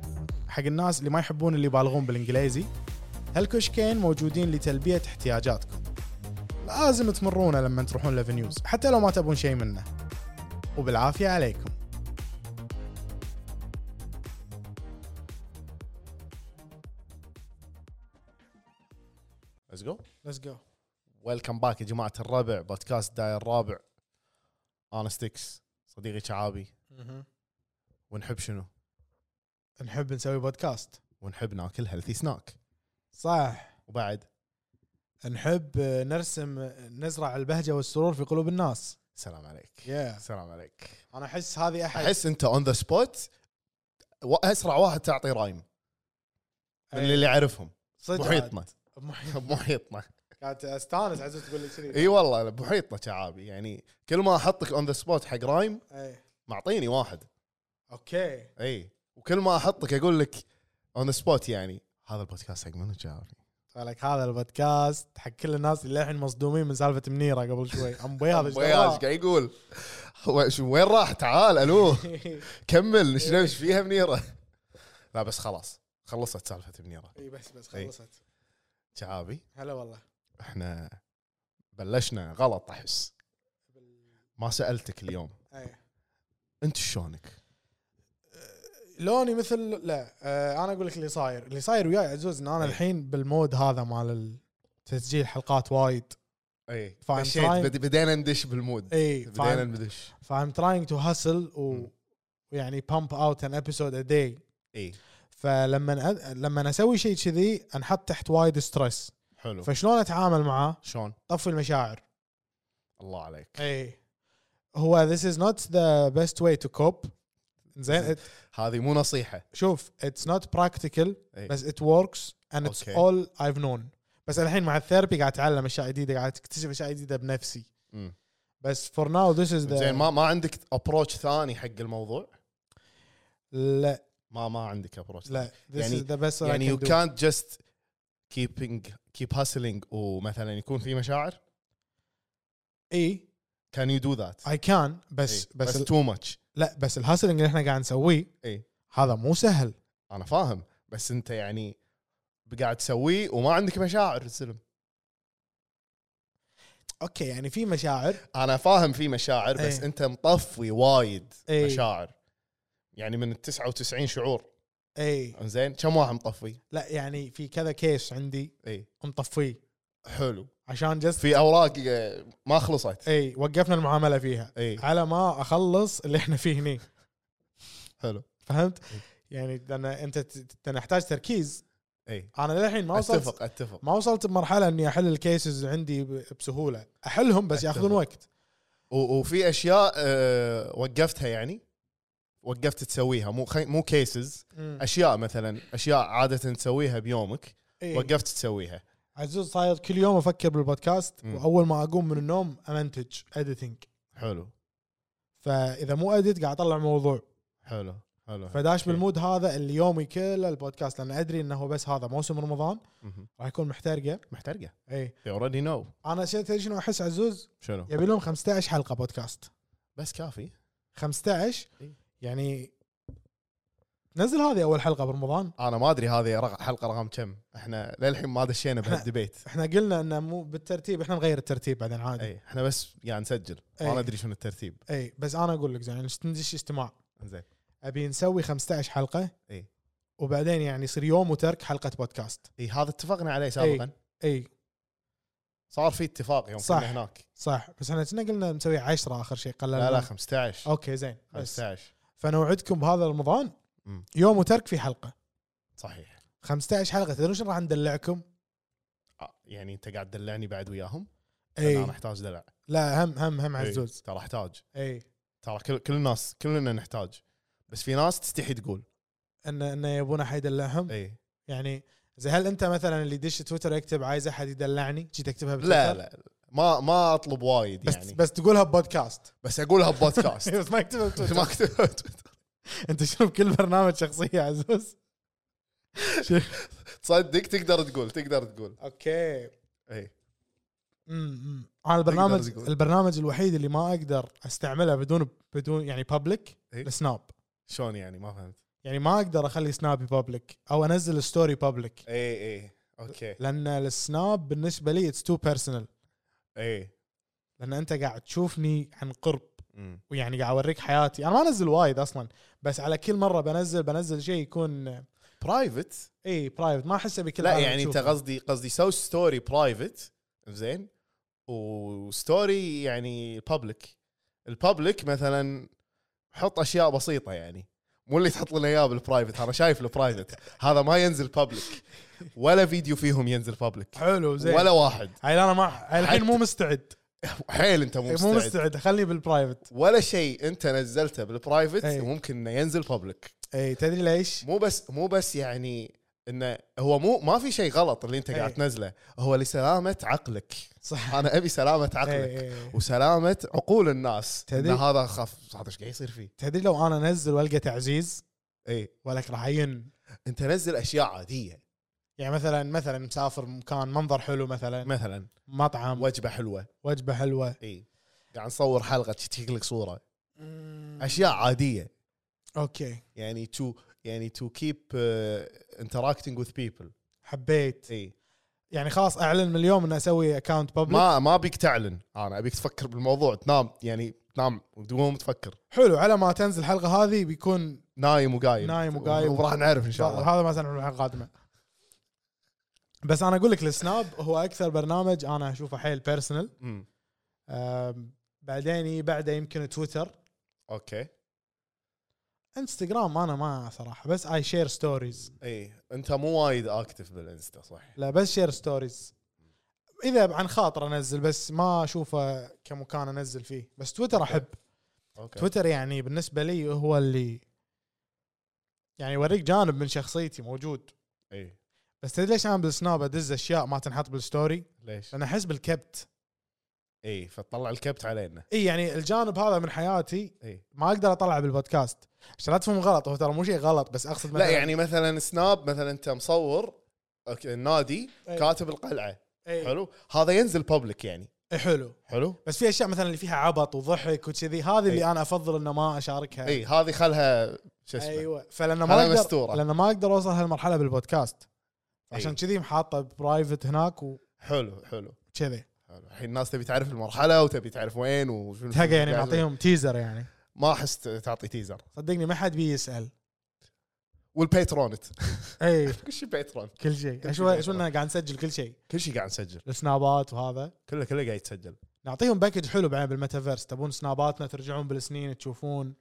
Speaker 3: حق الناس اللي ما يحبون اللي يبالغون بالإنجليزي هالكشكين موجودين لتلبية احتياجاتكم لازم تمرونه لما تروحون الأفنيوز حتى لو ما تبون شيء منه وبالعافية عليكم
Speaker 4: ليتس جو
Speaker 3: ليتس جو
Speaker 4: ويلكم باك يا جماعه الربع بودكاست داير الرابع انا ستيكس صديقي شعابي ونحب شنو؟
Speaker 3: نحب نسوي بودكاست
Speaker 4: ونحب ناكل هيلثي سناك
Speaker 3: صح
Speaker 4: وبعد
Speaker 3: نحب نرسم نزرع البهجه والسرور في قلوب الناس
Speaker 4: سلام عليك
Speaker 3: يا
Speaker 4: سلام عليك
Speaker 3: انا احس هذه احد
Speaker 4: احس انت اون ذا سبوت اسرع واحد تعطي رايم من
Speaker 3: أي.
Speaker 4: اللي اعرفهم
Speaker 3: صدق
Speaker 4: بحيطنا
Speaker 3: عاد. محيط.
Speaker 4: بمحيطنا
Speaker 3: قاعد استانس عزوز تقول لي كذي
Speaker 4: اي والله بمحيطنا شعابي يعني كل ما احطك اون ذا سبوت حق رايم
Speaker 3: إيه.
Speaker 4: معطيني واحد
Speaker 3: اوكي
Speaker 4: اي وكل ما احطك اقول لك اون ذا سبوت يعني هذا البودكاست حق منو شعابي
Speaker 3: طيب، لك هذا البودكاست حق كل الناس اللي الحين مصدومين من سالفه منيره قبل شوي ام بياض إيش
Speaker 4: وياش
Speaker 3: دراك؟
Speaker 4: قاعد يقول هو شو- وين راح تعال الو كمل ايش ايش فيها منيره لا بس خلاص خلصت سالفه منيره
Speaker 3: اي إيه، بس بس
Speaker 4: إي.
Speaker 3: خلصت
Speaker 4: شعابي
Speaker 3: هلا والله
Speaker 4: احنا بلشنا غلط احس ما سالتك اليوم
Speaker 3: أي.
Speaker 4: انت شلونك؟
Speaker 3: لوني مثل لا آه انا اقول لك اللي صاير اللي صاير وياي عزوز ان انا الحين بالمود هذا مال تسجيل حلقات وايد
Speaker 4: اي
Speaker 3: فاهم
Speaker 4: إيه، مشيت إيه،
Speaker 3: تراي؟
Speaker 4: بد- بدينا ندش بالمود
Speaker 3: اي
Speaker 4: بدينا
Speaker 3: فاهم
Speaker 4: ندش
Speaker 3: فايم تراينج تو هاسل ويعني بامب اوت ان ابيسود ا داي
Speaker 4: اي
Speaker 3: فلما أ- لما اسوي شيء كذي انحط تحت وايد ستريس
Speaker 4: حلو
Speaker 3: فشلون اتعامل معاه؟
Speaker 4: شلون؟
Speaker 3: طفي المشاعر
Speaker 4: الله عليك
Speaker 3: اي هو this is not the best way to cope زين it-
Speaker 4: هذه مو نصيحه
Speaker 3: شوف it's not practical
Speaker 4: إي.
Speaker 3: بس it works and it's
Speaker 4: إيه. أوكي.
Speaker 3: all I've known بس الحين مع الثيرابي قاعد اتعلم اشياء جديده قاعد اكتشف اشياء جديده بنفسي
Speaker 4: مم.
Speaker 3: بس for now this is the
Speaker 4: زين ما ما عندك ابروتش ثاني حق الموضوع؟
Speaker 3: لا
Speaker 4: ما ما عندك ابروتش
Speaker 3: لا this
Speaker 4: يعني-
Speaker 3: is the best
Speaker 4: يعني
Speaker 3: I
Speaker 4: يو
Speaker 3: can do.
Speaker 4: كانت جاست كيبينج كيب هاسلينج ومثلا يكون في مشاعر
Speaker 3: اي
Speaker 4: كان يو دو ذات
Speaker 3: I can بس بس,
Speaker 4: إيه، بس
Speaker 3: ال-
Speaker 4: تو إيه. ماتش
Speaker 3: لا بس الهاسلنج اللي احنا قاعد نسويه
Speaker 4: إي.
Speaker 3: هذا مو سهل
Speaker 4: انا فاهم بس انت يعني قاعد تسويه وما عندك مشاعر الزلم
Speaker 3: اوكي يعني في مشاعر
Speaker 4: انا فاهم في مشاعر بس
Speaker 3: إيه.
Speaker 4: انت مطفي وايد
Speaker 3: إيه.
Speaker 4: مشاعر يعني من ال 99 شعور
Speaker 3: اي
Speaker 4: زين كم واحد مطفي؟
Speaker 3: إيه، لا يعني في كذا كيس عندي
Speaker 4: اي
Speaker 3: مطفيه
Speaker 4: حلو
Speaker 3: عشان جس
Speaker 4: في اوراق آه، ما خلصت إيه.
Speaker 3: اي وقفنا المعامله فيها
Speaker 4: اي
Speaker 3: على ما اخلص اللي احنا فيه هني
Speaker 4: حلو إيه.
Speaker 3: فهمت؟ يعني لان انت ت- ت- نحتاج تركيز
Speaker 4: اي
Speaker 3: انا للحين ما وصلت
Speaker 4: اتفق اتفق
Speaker 3: ما وصلت بمرحله اني احل الكيسز عندي ب- بسهوله احلهم بس
Speaker 4: أتفق.
Speaker 3: ياخذون وقت
Speaker 4: و- وفي اشياء آه، وقفتها يعني وقفت تسويها مو خي... مو كيسز اشياء مثلا اشياء عاده تسويها بيومك
Speaker 3: إيه.
Speaker 4: وقفت تسويها
Speaker 3: عزوز صاير كل يوم افكر بالبودكاست
Speaker 4: مم.
Speaker 3: واول ما اقوم من النوم امنتج اديتنج
Speaker 4: حلو
Speaker 3: فاذا مو اديت قاعد اطلع موضوع
Speaker 4: حلو حلو إيه.
Speaker 3: فداش
Speaker 4: أوكي.
Speaker 3: بالمود هذا اللي يومي كله البودكاست لان ادري انه هو بس هذا موسم رمضان
Speaker 4: مهم.
Speaker 3: راح يكون محترقه
Speaker 4: محترقه
Speaker 3: اي
Speaker 4: they already know
Speaker 3: انا شي- تدري شنو احس عزوز
Speaker 4: شنو
Speaker 3: يبي لهم 15 حلقه بودكاست
Speaker 4: بس كافي
Speaker 3: 15
Speaker 4: إي.
Speaker 3: يعني نزل هذه اول حلقه برمضان
Speaker 4: انا ما ادري هذه رق... حلقه رقم كم احنا للحين ما دشينا
Speaker 3: إحنا-
Speaker 4: بهالديبيت
Speaker 3: احنا قلنا انه مو بالترتيب احنا نغير الترتيب بعدين عادي اي,
Speaker 4: اي احنا بس يعني نسجل
Speaker 3: إي.
Speaker 4: ما ندري شنو الترتيب
Speaker 3: أي. إيه، بس انا اقول لك يعني ندش اجتماع
Speaker 4: زين
Speaker 3: ابي نسوي 15 حلقه
Speaker 4: إي.
Speaker 3: وبعدين يعني يصير يوم وترك حلقه بودكاست
Speaker 4: اي هذا اتفقنا عليه سابقا
Speaker 3: اي
Speaker 4: صار في اتفاق يوم
Speaker 3: صح.
Speaker 4: كنا هناك
Speaker 3: صح بس احنا كنا قلنا مسوي 10 اخر شيء قلنا
Speaker 4: لا لا 15
Speaker 3: اوكي زين بس
Speaker 4: 15
Speaker 3: فنوعدكم بهذا رمضان
Speaker 4: مم.
Speaker 3: يوم وترك في حلقه
Speaker 4: صحيح
Speaker 3: 15 حلقه تدرون شنو راح ندلعكم؟
Speaker 4: آه، يعني انت قاعد تدلعني بعد وياهم لأن انا
Speaker 3: اي
Speaker 4: احتاج دلع
Speaker 3: لا هم هم هم
Speaker 4: إي،
Speaker 3: عزوز
Speaker 4: ترى احتاج
Speaker 3: اي
Speaker 4: ترى كل كل الناس كلنا نحتاج بس في ناس تستحي تقول
Speaker 3: انه انه يبون احد يدلعهم
Speaker 4: اي
Speaker 3: يعني زي هل انت مثلا اللي دش تويتر يكتب عايز احد يدلعني جيت اكتبها بتويتر
Speaker 4: لا لا ما ما اطلب وايد
Speaker 3: بس
Speaker 4: يعني
Speaker 3: يعني. بس تقولها ببودكاست
Speaker 4: بس اقولها ببودكاست
Speaker 3: بس ما اكتبها بتويتر
Speaker 4: ما كتبت
Speaker 3: انت شنو بكل برنامج شخصيه عزوز
Speaker 4: تصدق تقدر تقول تقدر تقول
Speaker 3: اوكي
Speaker 4: اي
Speaker 3: امم انا البرنامج
Speaker 4: تقول.
Speaker 3: البرنامج الوحيد اللي ما اقدر استعمله بدون بدون يعني بابليك
Speaker 4: إي.
Speaker 3: السناب
Speaker 4: شلون يعني ما فهمت
Speaker 3: يعني ما اقدر اخلي سنابي بابليك او انزل ستوري بابليك
Speaker 4: اي اي اوكي
Speaker 3: لان السناب بالنسبه لي اتس تو بيرسونال
Speaker 4: اي
Speaker 3: لان انت قاعد تشوفني عن قرب
Speaker 4: أمم.
Speaker 3: ويعني قاعد اوريك حياتي انا ما انزل وايد اصلا بس على كل مره بنزل بنزل شيء يكون
Speaker 4: برايفت
Speaker 3: اي برايفت ما احسه بكل
Speaker 4: لا
Speaker 3: العالم
Speaker 4: يعني انت
Speaker 3: تشوفه.
Speaker 4: قصدي قصدي سو ستوري برايفت زين وستوري يعني بابليك البابليك مثلا حط اشياء بسيطه يعني مو اللي تحط لنا اياه بالبرايفت انا شايف البرايفت هذا ما ينزل بابليك ولا فيديو فيهم ينزل بابليك
Speaker 3: حلو زين
Speaker 4: ولا
Speaker 3: ولا
Speaker 4: واحد
Speaker 3: هاي انا ما الحين
Speaker 4: حتى-
Speaker 3: مو مستعد
Speaker 4: حيل انت إيه، مو
Speaker 3: مستعد. مو
Speaker 4: مستعد
Speaker 3: مستعد خلني بالبرايفت
Speaker 4: ولا شيء انت نزلته بالبرايفت
Speaker 3: أي.
Speaker 4: وممكن انه ينزل بابليك
Speaker 3: اي تدري ليش؟
Speaker 4: مو بس مو بس يعني انه هو مو ما في شيء غلط اللي انت
Speaker 3: إيه.
Speaker 4: قاعد تنزله هو لسلامه عقلك
Speaker 3: صح
Speaker 4: انا ابي سلامه
Speaker 3: إي،
Speaker 4: عقلك
Speaker 3: إي.
Speaker 4: وسلامه عقول الناس ان
Speaker 3: تدري-
Speaker 4: هذا خف هذا ايش قاعد يصير فيه إيه.
Speaker 3: تدري لو انا انزل والقى تعزيز
Speaker 4: اي
Speaker 3: ولك راح عين
Speaker 4: انت نزل اشياء عاديه
Speaker 3: يعني مثلا مثلا مسافر مكان منظر حلو مثلا
Speaker 4: مثلا
Speaker 3: مطعم
Speaker 4: وجبه حلوه
Speaker 3: وجبه حلوه
Speaker 4: اي إيه. قاعد نصور حلقه تشيك لك صوره اشياء عاديه
Speaker 3: اوكي
Speaker 4: يعني تو يعني آه، تو كيب انتراكتنج وذ بيبل
Speaker 3: حبيت
Speaker 4: اي
Speaker 3: يعني خلاص اعلن من اليوم اني اسوي اكونت بابليك
Speaker 4: ما ما ابيك تعلن انا ابيك تفكر بالموضوع تنام يعني تنام وتقوم تفكر
Speaker 3: حلو على ما تنزل الحلقه هذه بيكون
Speaker 4: نايم وقايم
Speaker 3: نايم وقايم.
Speaker 4: وراح نعرف ان شاء الله
Speaker 3: هذا ما سنعمل الحلقه القادمه بس انا اقول لك السناب هو اكثر برنامج انا اشوفه حيل بيرسونال
Speaker 4: مم.
Speaker 3: بعدين يجي بعده يمكن تويتر
Speaker 4: اوكي
Speaker 3: انستغرام انا ما صراحه بس اي شير ستوريز
Speaker 4: اي انت مو وايد اكتف بالانستا صح
Speaker 3: لا بس شير ستوريز اذا عن خاطر انزل بس ما اشوفه كمكان انزل فيه بس تويتر احب
Speaker 4: اوكي
Speaker 3: تويتر يعني بالنسبه لي هو اللي يعني يوريك جانب من شخصيتي موجود
Speaker 4: اي
Speaker 3: بس تدري ليش انا بالسناب ادز اشياء ما تنحط بالستوري؟
Speaker 4: ليش
Speaker 3: لان احس بالكبت
Speaker 4: اي فتطلع الكبت علينا
Speaker 3: اي يعني الجانب هذا من حياتي
Speaker 4: اي
Speaker 3: ما اقدر اطلعه بالبودكاست عشان لا تفهم غلط هو ترى مو شيء غلط بس اقصد
Speaker 4: لا يعني مثلا سناب مثلا انت مصور اوكي النادي
Speaker 3: أي.
Speaker 4: كاتب القلعه
Speaker 3: حلو
Speaker 4: حلو هذا ينزل بابليك يعني
Speaker 3: حلو
Speaker 4: حلو
Speaker 3: بس في اشياء مثلا اللي فيها عبط وضحك وكذي هذه اللي انا افضل انه ما اشاركها
Speaker 4: اي هذه خلها شو اسمه
Speaker 3: ايوه فلان ما
Speaker 4: خلها
Speaker 3: اقدر
Speaker 4: مستورة.
Speaker 3: لان ما اقدر اوصل هالمرحله بالبودكاست عشان
Speaker 4: أي.
Speaker 3: كذي محاطه برايفت هناك
Speaker 4: حلو حلو
Speaker 3: وكذي
Speaker 4: حلو. الحين الناس تبي تعرف المرحله وتبي تعرف وين وشنو
Speaker 3: تلقى يعني معطيهم تيزر يعني
Speaker 4: ما احس تعطي تيزر
Speaker 3: صدقني ما حد بيسال
Speaker 4: والبيترونت
Speaker 3: اي
Speaker 4: كل شيء بيترون
Speaker 3: كل شيء شو شو إننا قاعد نسجل كل شيء
Speaker 4: كل شيء قاعد نسجل
Speaker 3: السنابات وهذا
Speaker 4: كله كله قاعد يتسجل
Speaker 3: نعطيهم باكج حلو بعدين بالميتافيرس تبون سناباتنا ترجعون بالسنين تشوفون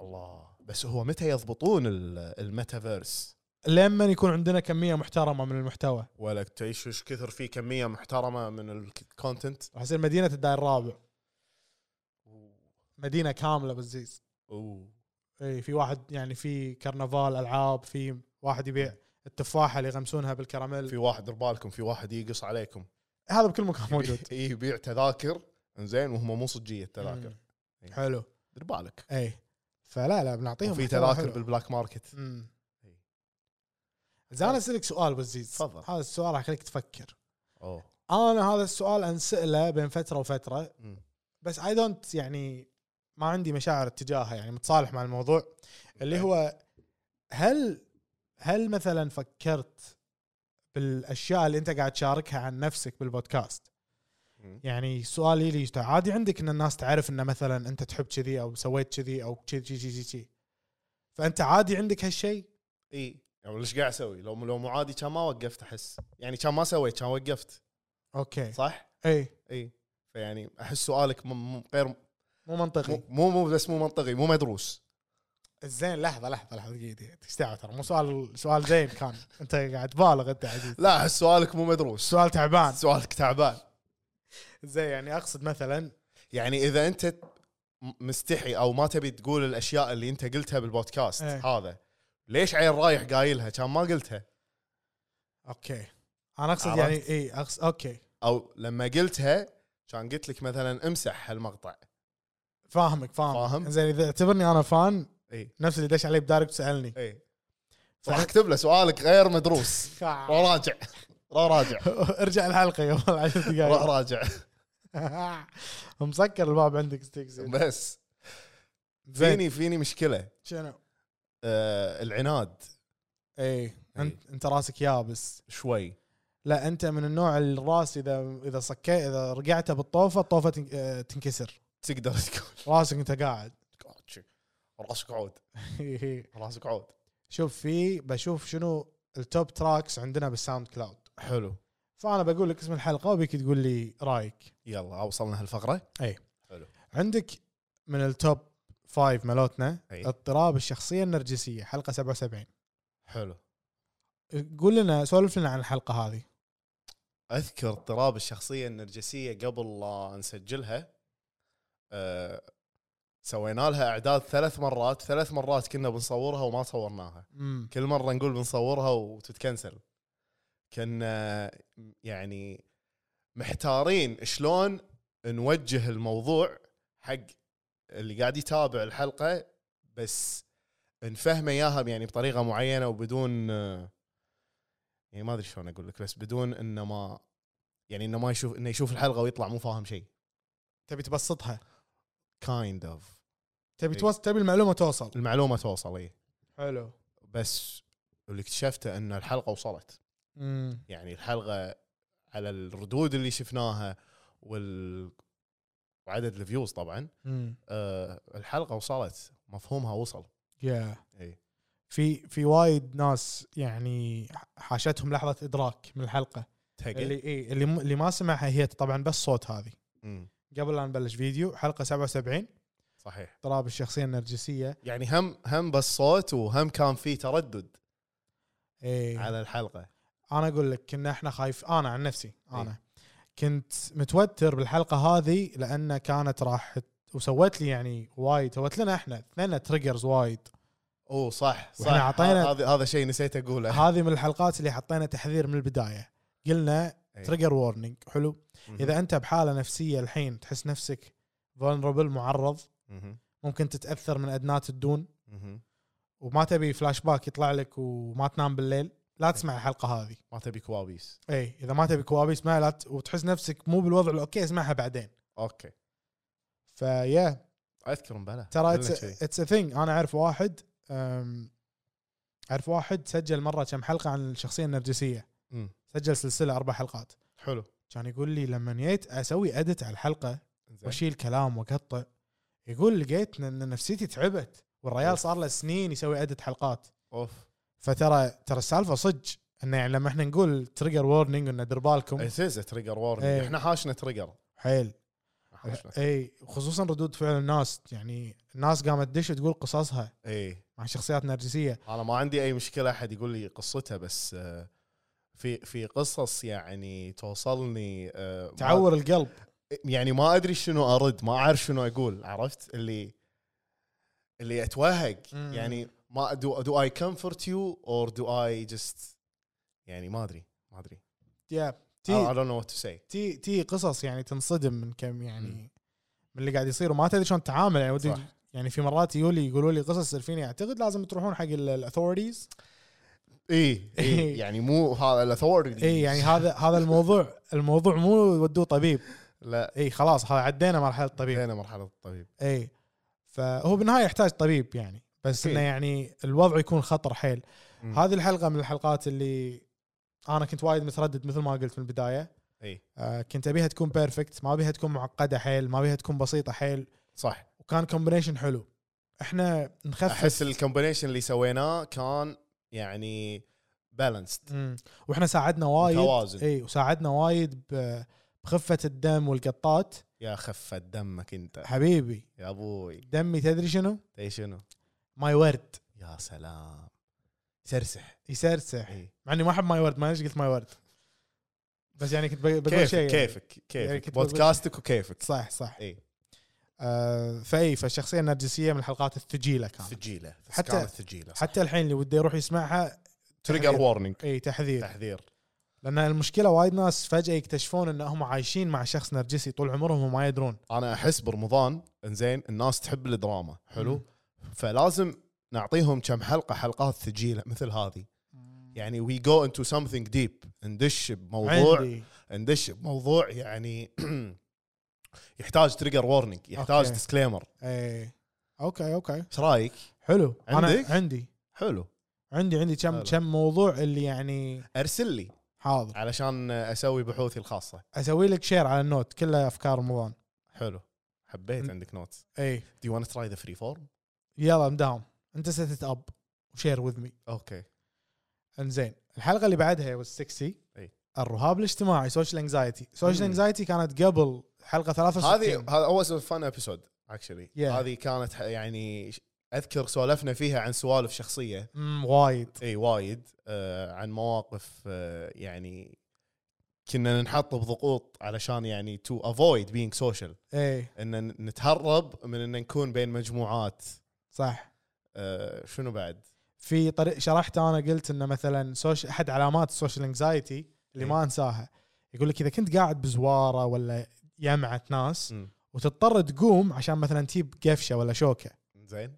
Speaker 4: الله بس هو متى يضبطون ال- الميتافيرس
Speaker 3: لما يكون عندنا كميه محترمه من المحتوى
Speaker 4: ولا تعيش ايش كثر في كميه محترمه من الكونتنت
Speaker 3: راح يصير مدينه الداير الرابع مدينه كامله بالزيز
Speaker 4: اوه
Speaker 3: اي في واحد يعني في كرنفال العاب في واحد يبيع التفاحه اللي يغمسونها
Speaker 4: في
Speaker 3: بالكراميل
Speaker 4: واحد ربالكم في واحد يقص عليكم
Speaker 3: هذا بكل مكان موجود
Speaker 4: اي يبيع تذاكر زين وهم مو صجيه التذاكر
Speaker 3: مم. حلو
Speaker 4: دير بالك
Speaker 3: اي فلا لا بنعطيهم
Speaker 4: في
Speaker 3: محتوى
Speaker 4: تذاكر
Speaker 3: طيب، حلو.
Speaker 4: بالبلاك ماركت
Speaker 3: مم.
Speaker 4: إي. طيب.
Speaker 3: زين انا اسالك سؤال بالزيز
Speaker 4: تفضل.
Speaker 3: هذا السؤال راح يخليك تفكر
Speaker 4: اوه
Speaker 3: انا هذا السؤال انساله بين فتره وفتره
Speaker 4: مم.
Speaker 3: بس اي دونت يعني ما عندي مشاعر اتجاهه يعني متصالح مع الموضوع اللي هو هل هل مثلا فكرت بالاشياء اللي انت قاعد تشاركها عن نفسك بالبودكاست
Speaker 4: مم.
Speaker 3: يعني سؤالي لي عادي عندك ان الناس تعرف ان مثلا انت تحب كذي او سويت كذي او كذي كذي كذي فانت عادي عندك هالشيء
Speaker 4: اي يعني ليش قاعد اسوي؟ لو لو مو عادي كان ما وقفت احس، يعني كان ما سويت كان وقفت
Speaker 3: اوكي
Speaker 4: صح؟
Speaker 3: اي
Speaker 4: اي فيعني احس سؤالك م- م- غير
Speaker 3: مو منطقي
Speaker 4: مو- مو مو بس مو منطقي مو مدروس
Speaker 3: زين لحظه لحظه لحظه دقيقه دقيقه تستوعب ترى مو سؤال سؤال زين كان انت قاعد تبالغ انت عزيز
Speaker 4: لا احس سؤالك مو مدروس
Speaker 3: سؤال تعبان
Speaker 4: سؤالك تعبان
Speaker 3: زين يعني اقصد مثلا
Speaker 4: يعني اذا انت م- مستحي او ما تبي تقول الاشياء اللي انت قلتها بالبودكاست
Speaker 3: إيه.
Speaker 4: هذا ليش عين رايح قايلها كان ما قلتها
Speaker 3: اوكي انا اقصد
Speaker 4: عرفت؟
Speaker 3: يعني اي اقصد اوكي
Speaker 4: او لما قلتها كان قلت لك مثلا امسح هالمقطع
Speaker 3: فاهمك فاهم
Speaker 4: فاهم.
Speaker 3: زين اذا اعتبرني انا فان
Speaker 4: اي
Speaker 3: نفس اللي دش علي بدايركت سالني
Speaker 4: اي
Speaker 3: صح.
Speaker 4: راح اكتب له سؤالك غير مدروس
Speaker 3: خا-
Speaker 4: روح راجع روح راجع
Speaker 3: ارجع الحلقه قبل عشر
Speaker 4: روح
Speaker 3: دقائق
Speaker 4: راجع
Speaker 3: مسكر الباب عندك ستيكس
Speaker 4: بس
Speaker 3: زين
Speaker 4: فيني فيني مشكله
Speaker 3: شنو؟
Speaker 4: آه العناد
Speaker 3: اي انت انت إيه. راسك يابس
Speaker 4: شوي
Speaker 3: لا انت من النوع الراس اذا اذا صكيت اذا رقعته بالطوفه الطوفه تن- آه، تنكسر
Speaker 4: تقدر تقول
Speaker 3: راسك انت قاعد
Speaker 4: قاعد شي. راسك عود راسك عود
Speaker 3: شوف في بشوف شنو التوب تراكس عندنا بالساوند كلاود
Speaker 4: حلو
Speaker 3: فانا بقول لك اسم الحلقه وبيك تقول لي رايك
Speaker 4: يلا وصلنا هالفقره
Speaker 3: عندك من التوب فايف مالتنا
Speaker 4: أي.
Speaker 3: اضطراب الشخصيه النرجسيه حلقه 77
Speaker 4: حلو
Speaker 3: قول لنا سولف لنا عن الحلقه هذه
Speaker 4: اذكر اضطراب الشخصيه النرجسيه قبل لا نسجلها أه سوينا لها اعداد ثلاث مرات ثلاث مرات كنا بنصورها وما صورناها
Speaker 3: امم
Speaker 4: كل مره نقول بنصورها وتتكنسل كنا يعني محتارين شلون نوجه الموضوع حق اللي قاعد يتابع الحلقه بس نفهمه اياها يعني بطريقه معينه وبدون آه، يعني ما ادري شلون اقول لك بس بدون انه ما يعني انه ما يشوف انه يشوف الحلقه ويطلع مو فاهم شيء
Speaker 3: تبي تبسطها
Speaker 4: كايند اوف
Speaker 3: تبي
Speaker 4: إي.
Speaker 3: توصل تبي المعلومه توصل
Speaker 4: المعلومه توصل اي
Speaker 3: حلو
Speaker 4: بس اللي اكتشفته ان الحلقه وصلت
Speaker 3: امم
Speaker 4: يعني الحلقه على الردود اللي شفناها وال وعدد الفيوز طبعا
Speaker 3: امم
Speaker 4: أه الحلقه وصلت مفهومها وصل
Speaker 3: يا
Speaker 4: اي
Speaker 3: في في وايد ناس يعني حاشتهم لحظه ادراك من الحلقه اللي
Speaker 4: تقل
Speaker 3: إيه اللي م- اللي ما سمعها هي طبعا بس صوت هذه
Speaker 4: مم،
Speaker 3: قبل لا نبلش فيديو حلقه 77
Speaker 4: صحيح
Speaker 3: اضطراب الشخصيه النرجسيه
Speaker 4: يعني هم هم بس صوت وهم كان في تردد
Speaker 3: إيه.
Speaker 4: على الحلقه
Speaker 3: انا اقول لك كنا احنا خايف انا عن نفسي انا كنت متوتر بالحلقه هذه لان كانت راح ت- وسوت لي يعني وايد سوت لنا احنا اثنين تريجرز وايد
Speaker 4: اوه صح صح
Speaker 3: وإحنا عطينا-
Speaker 4: ه- هذا هذا شيء نسيت اقوله
Speaker 3: هذه من الحلقات اللي حطينا تحذير من البدايه قلنا
Speaker 4: إيه.
Speaker 3: تريجر وورنينج حلو
Speaker 4: مهم.
Speaker 3: اذا انت بحاله نفسيه الحين تحس نفسك فولنربل معرض
Speaker 4: مهم،
Speaker 3: ممكن تتاثر من ادنات الدون
Speaker 4: مهم.
Speaker 3: وما تبي فلاش باك يطلع لك وما تنام بالليل
Speaker 4: إيه.
Speaker 3: لا تسمع الحلقه هذه
Speaker 4: ما تبي كوابيس
Speaker 3: اي اذا ما تبي كوابيس ما لا ت- وتحس نفسك مو بالوضع الاوكي اسمعها بعدين
Speaker 4: اوكي
Speaker 3: فيا
Speaker 4: اذكر مبلا
Speaker 3: ترى
Speaker 4: قلنا شي.
Speaker 3: اتس ا ثينج انا اعرف واحد أم، اعرف واحد سجل مره كم حلقه عن الشخصيه النرجسيه
Speaker 4: مم.
Speaker 3: سجل سلسله اربع حلقات
Speaker 4: حلو
Speaker 3: كان يقول لي لما جيت اسوي ادت على الحلقه
Speaker 4: زين.
Speaker 3: واشيل كلام واقطع يقول لقيت ان نفسيتي تعبت والريال
Speaker 4: أوف.
Speaker 3: صار له سنين يسوي ادت حلقات
Speaker 4: اوف
Speaker 3: فترى ترى السالفه صدق انه يعني لما احنا نقول تريجر وورنينج انه دير بالكم
Speaker 4: اتيز تريجر وورنينج
Speaker 3: إيه.
Speaker 4: احنا حاشنا تريجر
Speaker 3: حيل
Speaker 4: حاشنا
Speaker 3: اي خصوصا ردود فعل الناس يعني الناس قامت تدش تقول قصصها
Speaker 4: اي
Speaker 3: مع شخصيات نرجسيه
Speaker 4: انا ما عندي اي مشكله احد يقول لي قصته بس آه، في في قصص يعني توصلني آه، ما-
Speaker 3: تعور القلب
Speaker 4: يعني ما ادري شنو ارد ما اعرف شنو اقول عرفت اللي اللي اتوهق
Speaker 3: مم.
Speaker 4: يعني ما do, do I comfort you or do I just يعني ما ادري ما ادري
Speaker 3: يا
Speaker 4: I, I
Speaker 3: تي
Speaker 4: don't know what to say
Speaker 3: تي تي قصص يعني تنصدم من كم
Speaker 4: مم.
Speaker 3: يعني من اللي قاعد يصير وما تدري شلون تتعامل يعني ودي
Speaker 4: صح.
Speaker 3: يعني في مرات يولي يقولوا لي قصص فيني اعتقد لازم تروحون حق الاثورتيز
Speaker 4: اي اي يعني مو هذا الاثورتي
Speaker 3: اي يعني هذا هذا الموضوع الموضوع مو ودوه طبيب
Speaker 4: لا
Speaker 3: اي خلاص هذا عدينا مرحله الطبيب
Speaker 4: هنا مرحله الطبيب
Speaker 3: اي فهو بالنهايه يحتاج طبيب يعني بس
Speaker 4: أكيد.
Speaker 3: انه يعني الوضع يكون خطر حيل
Speaker 4: إيه. مم.
Speaker 3: هذه الحلقه من الحلقات اللي انا كنت وايد متردد مثل ما قلت من البدايه
Speaker 4: اي
Speaker 3: آه كنت ابيها تكون بيرفكت ما ابيها تكون معقده حيل ما ابيها تكون بسيطه حيل
Speaker 4: صح
Speaker 3: وكان كومبينيشن حلو احنا نخفف
Speaker 4: احس الكومبينيشن اللي سويناه كان يعني بالانسد
Speaker 3: مم. واحنا ساعدنا وايد
Speaker 4: متوازن.
Speaker 3: اي وساعدنا وايد ب- بخفه الدم والقطات
Speaker 4: يا خفة دمك انت
Speaker 3: حبيبي
Speaker 4: يا ابوي
Speaker 3: دمي تدري شنو؟
Speaker 4: اي شنو
Speaker 3: ماي ورد
Speaker 4: يا سلام سرسح
Speaker 3: يسرسح
Speaker 4: اي
Speaker 3: مع اني ما احب ماي ورد ما ليش قلت ماي ورد بس يعني كنت بق- بقول
Speaker 4: كيفك
Speaker 3: شيء يعني.
Speaker 4: كيفك إيه.
Speaker 3: يعني
Speaker 4: كيفك
Speaker 3: كنت بقول-
Speaker 4: بودكاستك وكيفك
Speaker 3: صح صح
Speaker 4: اي
Speaker 3: آه فاي فالشخصيه النرجسيه من الحلقات الثجيله كانت
Speaker 4: ثجيله
Speaker 3: حتى-
Speaker 4: حتى كانت ثجيله
Speaker 3: حتى يعني الحين اللي وده يروح يسمعها
Speaker 4: تريجر وورنينج
Speaker 3: اي تحذير
Speaker 4: تحذير
Speaker 3: لان المشكله وايد ناس فجاه يكتشفون انهم عايشين مع شخص نرجسي طول عمرهم وما يدرون
Speaker 4: انا احس برمضان انزين الناس تحب الدراما
Speaker 3: مم.
Speaker 4: حلو فلازم نعطيهم كم حلقه حلقات ثجيله مثل هذه يعني وي جو انتو سمثينج ديب ندش بموضوع
Speaker 3: عندي
Speaker 4: ندش بموضوع يعني يحتاج تريجر وورنينج يحتاج
Speaker 3: أوكي.
Speaker 4: ديسكليمر
Speaker 3: اي اوكي اوكي
Speaker 4: ايش رايك
Speaker 3: إيه. حلو
Speaker 4: عندك؟
Speaker 3: انا عندي
Speaker 4: حلو
Speaker 3: عندي عندي كم
Speaker 4: حلو.
Speaker 3: كم موضوع اللي يعني
Speaker 4: ارسل لي
Speaker 3: حاضر
Speaker 4: علشان اسوي بحوثي الخاصه
Speaker 3: اسوي لك شير على النوت كله افكار رمضان
Speaker 4: حلو
Speaker 3: م.
Speaker 4: حبيت عندك نوت
Speaker 3: اي
Speaker 4: دي وان تراي ذا فري فورم
Speaker 3: يلا مداوم انت ستت اب وشير وذ مي
Speaker 4: اوكي
Speaker 3: انزين الحلقه اللي بعدها والسكسي
Speaker 4: أي.
Speaker 3: الرهاب الاجتماعي سوشيال انكزايتي سوشيال
Speaker 4: إيه. مم.
Speaker 3: انكزايتي كانت قبل حلقه 63
Speaker 4: هذه هذا اول فن ابيسود اكشلي
Speaker 3: Yeah.
Speaker 4: هذه كانت ح- يعني ش- اذكر سولفنا فيها عن سوالف شخصيه
Speaker 3: مم، وايد
Speaker 4: اي وايد آه عن مواقف آه يعني كنا ننحط بضغوط علشان يعني تو افويد بينج سوشيال
Speaker 3: اي
Speaker 4: ان ن- نتهرب من ان نكون بين مجموعات
Speaker 3: صح
Speaker 4: آه شنو بعد؟
Speaker 3: في طريق شرحت انا قلت انه مثلا سوش احد علامات السوشيال انكزايتي اللي
Speaker 4: أي.
Speaker 3: ما انساها يقول لك اذا كنت قاعد بزواره ولا يمعه ناس
Speaker 4: مم.
Speaker 3: وتضطر تقوم عشان مثلا تجيب قفشه ولا شوكه
Speaker 4: زين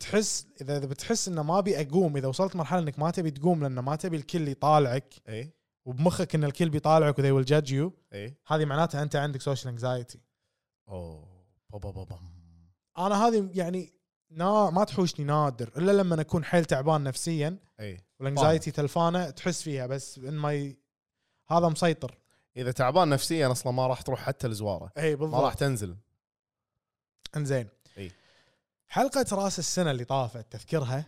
Speaker 3: تحس اذا إذا بتحس انه ما ابي اقوم اذا وصلت مرحله انك ما تبي تقوم لان ما تبي الكل يطالعك
Speaker 4: اي
Speaker 3: وبمخك ان الكل بيطالعك وذي ويل جادج يو
Speaker 4: اي
Speaker 3: هذه معناتها انت عندك سوشيال انكزايتي
Speaker 4: اوه بابا بابا
Speaker 3: انا هذه يعني نا ما تحوشني نادر الا لما اكون حيل تعبان نفسيا
Speaker 4: اي
Speaker 3: والانكزايتي تلفانه تحس فيها بس ان ماي هذا مسيطر
Speaker 4: اذا تعبان نفسيا اصلا ما راح تروح حتى الزواره
Speaker 3: اي
Speaker 4: ما راح
Speaker 3: بالضبط
Speaker 4: تنزل
Speaker 3: انزين
Speaker 4: إي.
Speaker 3: حلقه راس السنه اللي طافت تذكرها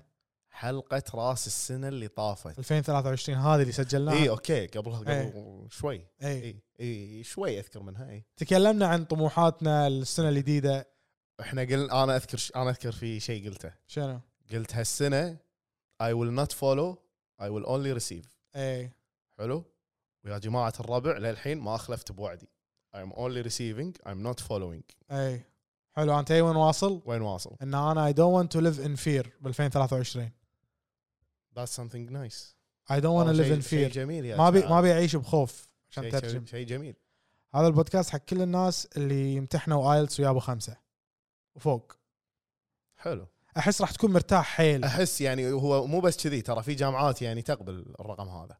Speaker 4: حلقه راس السنه اللي طافت
Speaker 3: 2023 هذه اللي سجلناها
Speaker 4: اي اوكي قبلها قبل شوي
Speaker 3: إي.
Speaker 4: اي اي شوي اذكر منها إيه. اي
Speaker 3: تكلمنا عن طموحاتنا السنه الجديده
Speaker 4: احنا قلنا انا اذكر ش... انا اذكر في شيء قلته
Speaker 3: شنو؟
Speaker 4: قلت هالسنه I will not follow I will only receive
Speaker 3: اي
Speaker 4: حلو ويا جماعه الربع للحين ما اخلفت بوعدي I'm only receiving I'm not following
Speaker 3: اي حلو انت اي وين واصل؟
Speaker 4: وين واصل
Speaker 3: ان انا اي دونت ونت تو ليف ان فير ب 2023
Speaker 4: That's something nice
Speaker 3: اي دونت ونت
Speaker 4: والله
Speaker 3: ليف
Speaker 4: شيء- شيء
Speaker 3: ان فير
Speaker 4: جميل يا
Speaker 3: ما ابي
Speaker 4: شباب.
Speaker 3: ما ابي اعيش بخوف عشان
Speaker 4: شيء- شيء-
Speaker 3: ترجم
Speaker 4: شيء جميل
Speaker 3: هذا البودكاست حق كل الناس اللي امتحنوا ايلتس ويابوا خمسه وفوق
Speaker 4: حلو
Speaker 3: احس راح تكون مرتاح حيل
Speaker 4: احس يعني هو مو بس كذي ترى في جامعات يعني تقبل الرقم هذا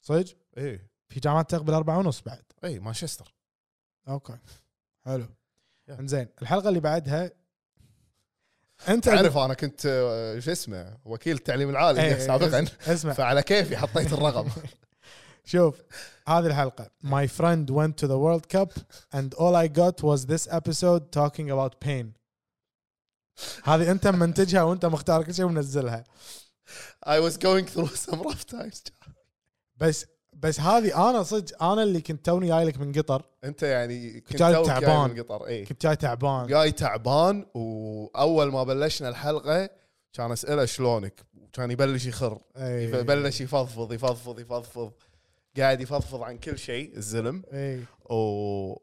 Speaker 3: صدق
Speaker 4: اي
Speaker 3: في جامعات تقبل أربعة ونص بعد
Speaker 4: اي إيه، مانشستر
Speaker 3: اوكي حلو
Speaker 4: Yeah.
Speaker 3: انزين الحلقه اللي بعدها إيه، انت
Speaker 4: تعرف انا كنت آه، شو اسمه وكيل التعليم العالي
Speaker 3: إيه، إيه،
Speaker 4: سابقا
Speaker 3: اسمع- اسمع
Speaker 4: فعلى كيفي حطيت الرقم
Speaker 3: شوف هذه الحلقة My friend went to the World Cup and all I got was this episode talking about pain هذه انت منتجها وانت مختار كل شيء ومنزلها
Speaker 4: I was going through some rough times
Speaker 3: بس بس هذه انا صدق انا اللي كنت توني جاي لك من قطر
Speaker 4: انت يعني كنت
Speaker 3: جاي
Speaker 4: توك جاي
Speaker 3: تعبان.
Speaker 4: من إيه. القطر اي
Speaker 3: كنت جاي تعبان
Speaker 4: جاي تعبان واول ما بلشنا الحلقه كان اساله شلونك كان يبلش يخر
Speaker 3: إي.
Speaker 4: بلش يفضفض يفضفض يفضفض قاعد يفضفض عن كل شيء الزلم
Speaker 3: اي
Speaker 4: و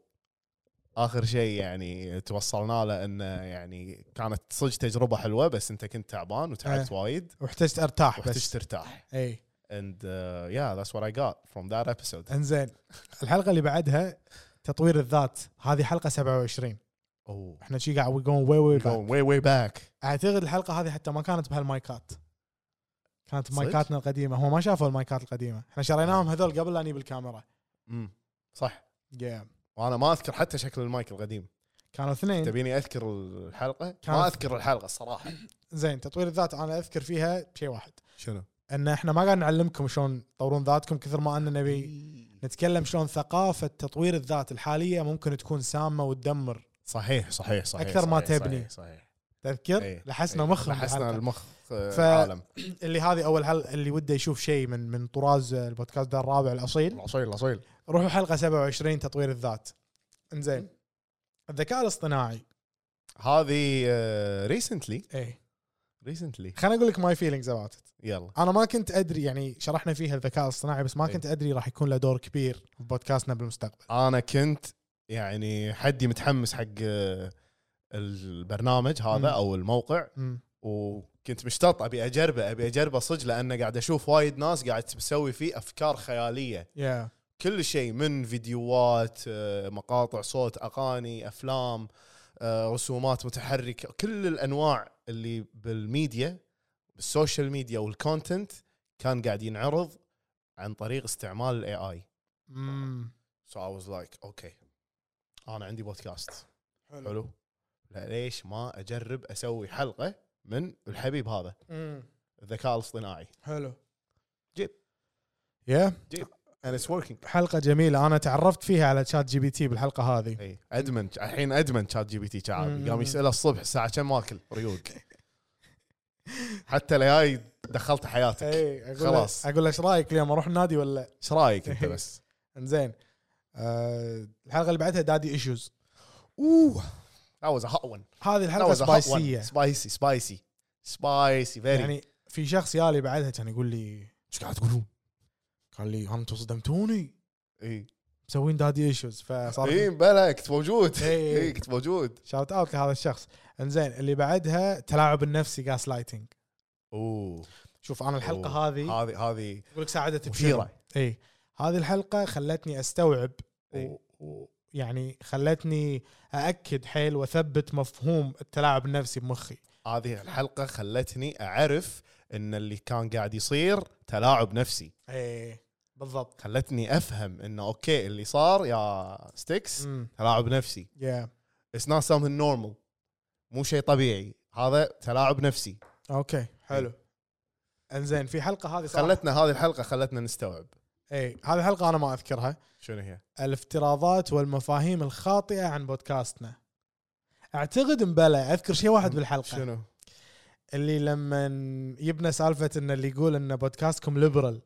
Speaker 4: اخر شيء يعني توصلنا له انه يعني كانت صدق تجربه حلوه بس انت كنت تعبان وتعبت وايد
Speaker 3: واحتجت ارتاح
Speaker 4: واحتجت
Speaker 3: بس إيه.
Speaker 4: ترتاح
Speaker 3: اي
Speaker 4: and uh, yeah that's what I got from that episode
Speaker 3: انزين الحلقة اللي بعدها تطوير الذات هذه حلقة 27
Speaker 4: oh
Speaker 3: احنا شي قاعد وي جون واي واي
Speaker 4: going way way back
Speaker 3: اعتقد الحلقه هذه حتى ما كانت بهالمايكات كانت
Speaker 4: صدق؟
Speaker 3: مايكاتنا القديمه هم ما شافوا المايكات القديمه احنا شريناهم هذول قبل لا نجيب الكاميرا
Speaker 4: امم صح
Speaker 3: yeah.
Speaker 4: وانا ما اذكر حتى شكل المايك القديم
Speaker 3: كانوا اثنين
Speaker 4: تبيني اذكر الحلقه
Speaker 3: كان-
Speaker 4: ما اذكر الحلقه الصراحه
Speaker 3: زين تطوير الذات انا اذكر فيها شيء واحد
Speaker 4: شنو
Speaker 3: ان احنا ما قاعد نعلمكم شلون تطورون ذاتكم كثر ما اننا نبي نتكلم شلون ثقافه تطوير الذات الحاليه ممكن تكون سامه وتدمر
Speaker 4: صحيح صحيح صحيح
Speaker 3: أكثر ما
Speaker 4: صحيح،
Speaker 3: تبني.
Speaker 4: صحيح, صحيح.
Speaker 3: تذكر
Speaker 4: إيه.
Speaker 3: لحسنا
Speaker 4: إيه.
Speaker 3: مخ
Speaker 4: لحسنا المخ
Speaker 3: ف-
Speaker 4: ف... العالم
Speaker 3: اللي هذه اول حلقه اللي وده يشوف شيء من من طراز البودكاست ده الرابع الاصيل
Speaker 4: العصيل العصيل
Speaker 3: روحوا حلقه 27 تطوير الذات انزين الذكاء الاصطناعي
Speaker 4: هذه آه، ريسنتلي
Speaker 3: ايه
Speaker 4: ريسنتلي
Speaker 3: خليني اقول لك ماي فيلينجز اباوت
Speaker 4: يلا
Speaker 3: انا ما كنت ادري يعني شرحنا فيها الذكاء الاصطناعي بس ما
Speaker 4: إيه.
Speaker 3: كنت ادري راح يكون له دور كبير ببودكاستنا بالمستقبل
Speaker 4: انا كنت يعني حدي متحمس حق آه، البرنامج هذا
Speaker 3: مم.
Speaker 4: او الموقع
Speaker 3: امم
Speaker 4: وكنت مشتاق ابي اجربه ابي اجربه صدق لانه قاعد اشوف وايد ناس قاعد تسوي فيه افكار خياليه
Speaker 3: يا
Speaker 4: كل شيء من فيديوهات آه، مقاطع صوت اغاني افلام آه، رسومات متحركه كل الانواع اللي بالميديا بالسوشيال ميديا والكونتنت كان قاعد ينعرض عن طريق استعمال الاي اي
Speaker 3: امم
Speaker 4: سو اي واز لايك اوكي انا عندي بودكاست
Speaker 3: حلو
Speaker 4: حلو لا، ليش ما اجرب اسوي حلقه من الحبيب هذا
Speaker 3: امم
Speaker 4: الذكاء الاصطناعي
Speaker 3: حلو
Speaker 4: جيب.
Speaker 3: يا
Speaker 4: and it's working
Speaker 3: حلقه جميله انا تعرفت فيها على شات جي بي تي بالحلقه هذه
Speaker 4: اي ادمن إيه، الحين ادمن شات جي بي تي
Speaker 3: مم.
Speaker 4: شعبي قام يساله الصبح الساعه كم واكل ريوق حتى الاي دخلت حياتك
Speaker 3: اي اقول
Speaker 4: خلاص.
Speaker 3: خلاص اقول له ايش رايك اليوم اروح النادي ولا
Speaker 4: ايش رايك انت بس
Speaker 3: انزين آه الحلقه اللي بعدها دادي ايشوز
Speaker 4: اوه that was a hot one
Speaker 3: هذه
Speaker 4: that
Speaker 3: الحلقه
Speaker 4: was a hot one
Speaker 3: سبايسيه
Speaker 4: spicy spicy spicy very
Speaker 3: يعني في شخص يالي بعدها كان يقول لي
Speaker 4: ايش قاعد تقولون
Speaker 3: قال لي انتم صدمتوني
Speaker 4: اي
Speaker 3: مسوين دادي ايشوز
Speaker 4: اي
Speaker 3: فصار
Speaker 4: إيه. بلا كنت موجود
Speaker 3: إي.
Speaker 4: اي كنت موجود
Speaker 3: شاوت اوت لهذا الشخص انزين اللي بعدها تلاعب النفسي جاس لايتنج
Speaker 4: اوه
Speaker 3: شوف انا الحلقه
Speaker 4: أوه.
Speaker 3: هذه
Speaker 4: هذه هذه
Speaker 3: اقول لك ساعدت
Speaker 4: مثيرة.
Speaker 3: بشنو؟ اي هذه الحلقه خلتني يعني استوعب إيه.
Speaker 4: إي.
Speaker 3: ويعني خلتني ااكد حيل واثبت مفهوم التلاعب النفسي بمخي
Speaker 4: هذه الحلقه خلتني اعرف ان اللي كان قاعد يصير تلاعب نفسي
Speaker 3: اي بالضبط
Speaker 4: خلتني افهم انه اوكي اللي صار يا ستيكس
Speaker 3: امم
Speaker 4: تلاعب نفسي
Speaker 3: يا
Speaker 4: اتس نوت سمثينج نورمال مو شيء طبيعي هذا تلاعب نفسي
Speaker 3: اوكي حلو انزين في حلقه هذه خلت
Speaker 4: خلتنا هذه الحلقه خلتنا نستوعب
Speaker 3: اي هذه الحلقه انا ما اذكرها
Speaker 4: شنو هي
Speaker 3: الافتراضات والمفاهيم الخاطئه عن بودكاستنا اعتقد مبلى اذكر شيء واحد بالحلقه
Speaker 4: شنو
Speaker 3: اللي لما يبنى سالفه ان اللي يقول ان بودكاستكم ليبرال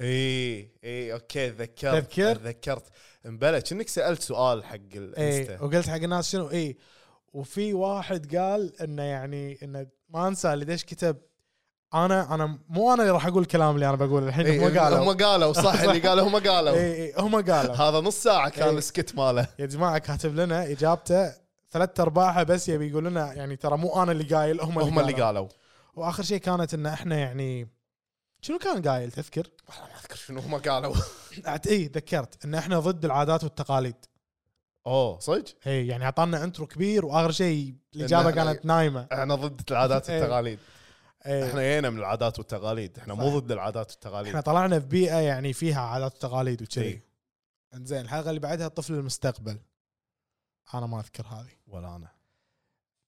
Speaker 4: اي اي اوكي تذكرت
Speaker 3: تذكر؟
Speaker 4: تذكرت مبلى كأنك سالت سؤال حق
Speaker 3: اي
Speaker 4: الانستا
Speaker 3: إيه، وقلت حق الناس شنو اي وفي واحد قال انه يعني انه ما انسى اللي ليش كتب انا انا مو انا اللي راح اقول الكلام اللي انا بقوله الحين
Speaker 4: إي،
Speaker 3: هم قالوا
Speaker 4: إيه، هم قالوا صح اللي قالوا هم قالوا
Speaker 3: اي اي هم قالوا
Speaker 4: هذا نص ساعه
Speaker 3: إي.
Speaker 4: كان السكت ماله
Speaker 3: يا جماعه كاتب لنا اجابته ثلاث ارباعها بس يبي يقول لنا يعني ترى مو انا اللي قايل هم اللي,
Speaker 4: هم اللي
Speaker 3: قالوا
Speaker 4: قالوا
Speaker 3: واخر شيء كانت ان احنا يعني شنو كان قايل تذكر؟
Speaker 4: والله ما اذكر شنو هم قالوا
Speaker 3: أعت- إيه، اي تذكرت ان احنا ضد العادات والتقاليد
Speaker 4: اوه صدق
Speaker 3: اي يعني اعطانا انترو كبير واخر شيء الاجابه
Speaker 4: إحنا-
Speaker 3: كانت إيه. نايمه
Speaker 4: احنا ضد العادات
Speaker 3: إي.
Speaker 4: والتقاليد
Speaker 3: إي.
Speaker 4: احنا جينا من العادات والتقاليد احنا مو ضد العادات
Speaker 3: احنا
Speaker 4: والتقاليد
Speaker 3: طلعنا في بيئه يعني فيها عادات وتقاليد وكذي
Speaker 4: إي.
Speaker 3: زين الحلقه اللي بعدها طفل المستقبل انا ما اذكر هذه
Speaker 4: ولا انا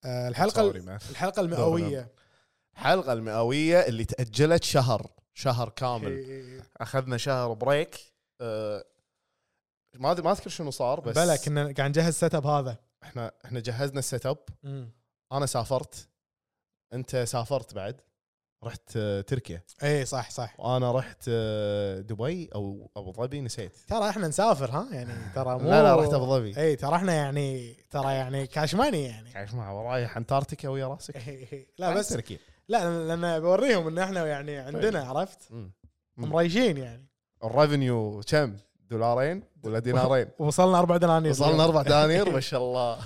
Speaker 3: أه الحلقه
Speaker 4: Sorry, man.
Speaker 3: الحلقه المئويه
Speaker 4: الحلقه المئويه اللي تاجلت شهر شهر
Speaker 3: إيه،
Speaker 4: كامل
Speaker 3: إي- إي- إي.
Speaker 4: اخذنا شهر بريك أه ما أدري- ما اذكر شنو صار بس
Speaker 3: بلا كنا قاعد نجهز سيت اب هذا
Speaker 4: احنا احنا جهزنا السيت اب انا سافرت انت سافرت بعد رحت آه، تركيا
Speaker 3: اي إيه، صح صح
Speaker 4: وانا رحت آه، دبي او ابو ظبي نسيت
Speaker 3: ترى احنا نسافر ها يعني ترى مو
Speaker 4: لا لا رحت ابو ظبي
Speaker 3: اي ترى احنا يعني ترى يعني كاش ماني يعني
Speaker 4: عايش مع ورايح انتاركتيكا ويا راسك
Speaker 3: لا
Speaker 4: عن
Speaker 3: بس
Speaker 4: إيه. تركيا
Speaker 3: لا لان بوريهم ان احنا يعني عندنا عرفت
Speaker 4: طيب. مم. مم.
Speaker 3: مريشين يعني
Speaker 4: الريفنيو كم دولارين ولا دينارين
Speaker 3: وصلنا اربع دنانير
Speaker 4: وصلنا اربع دنانير ما شاء الله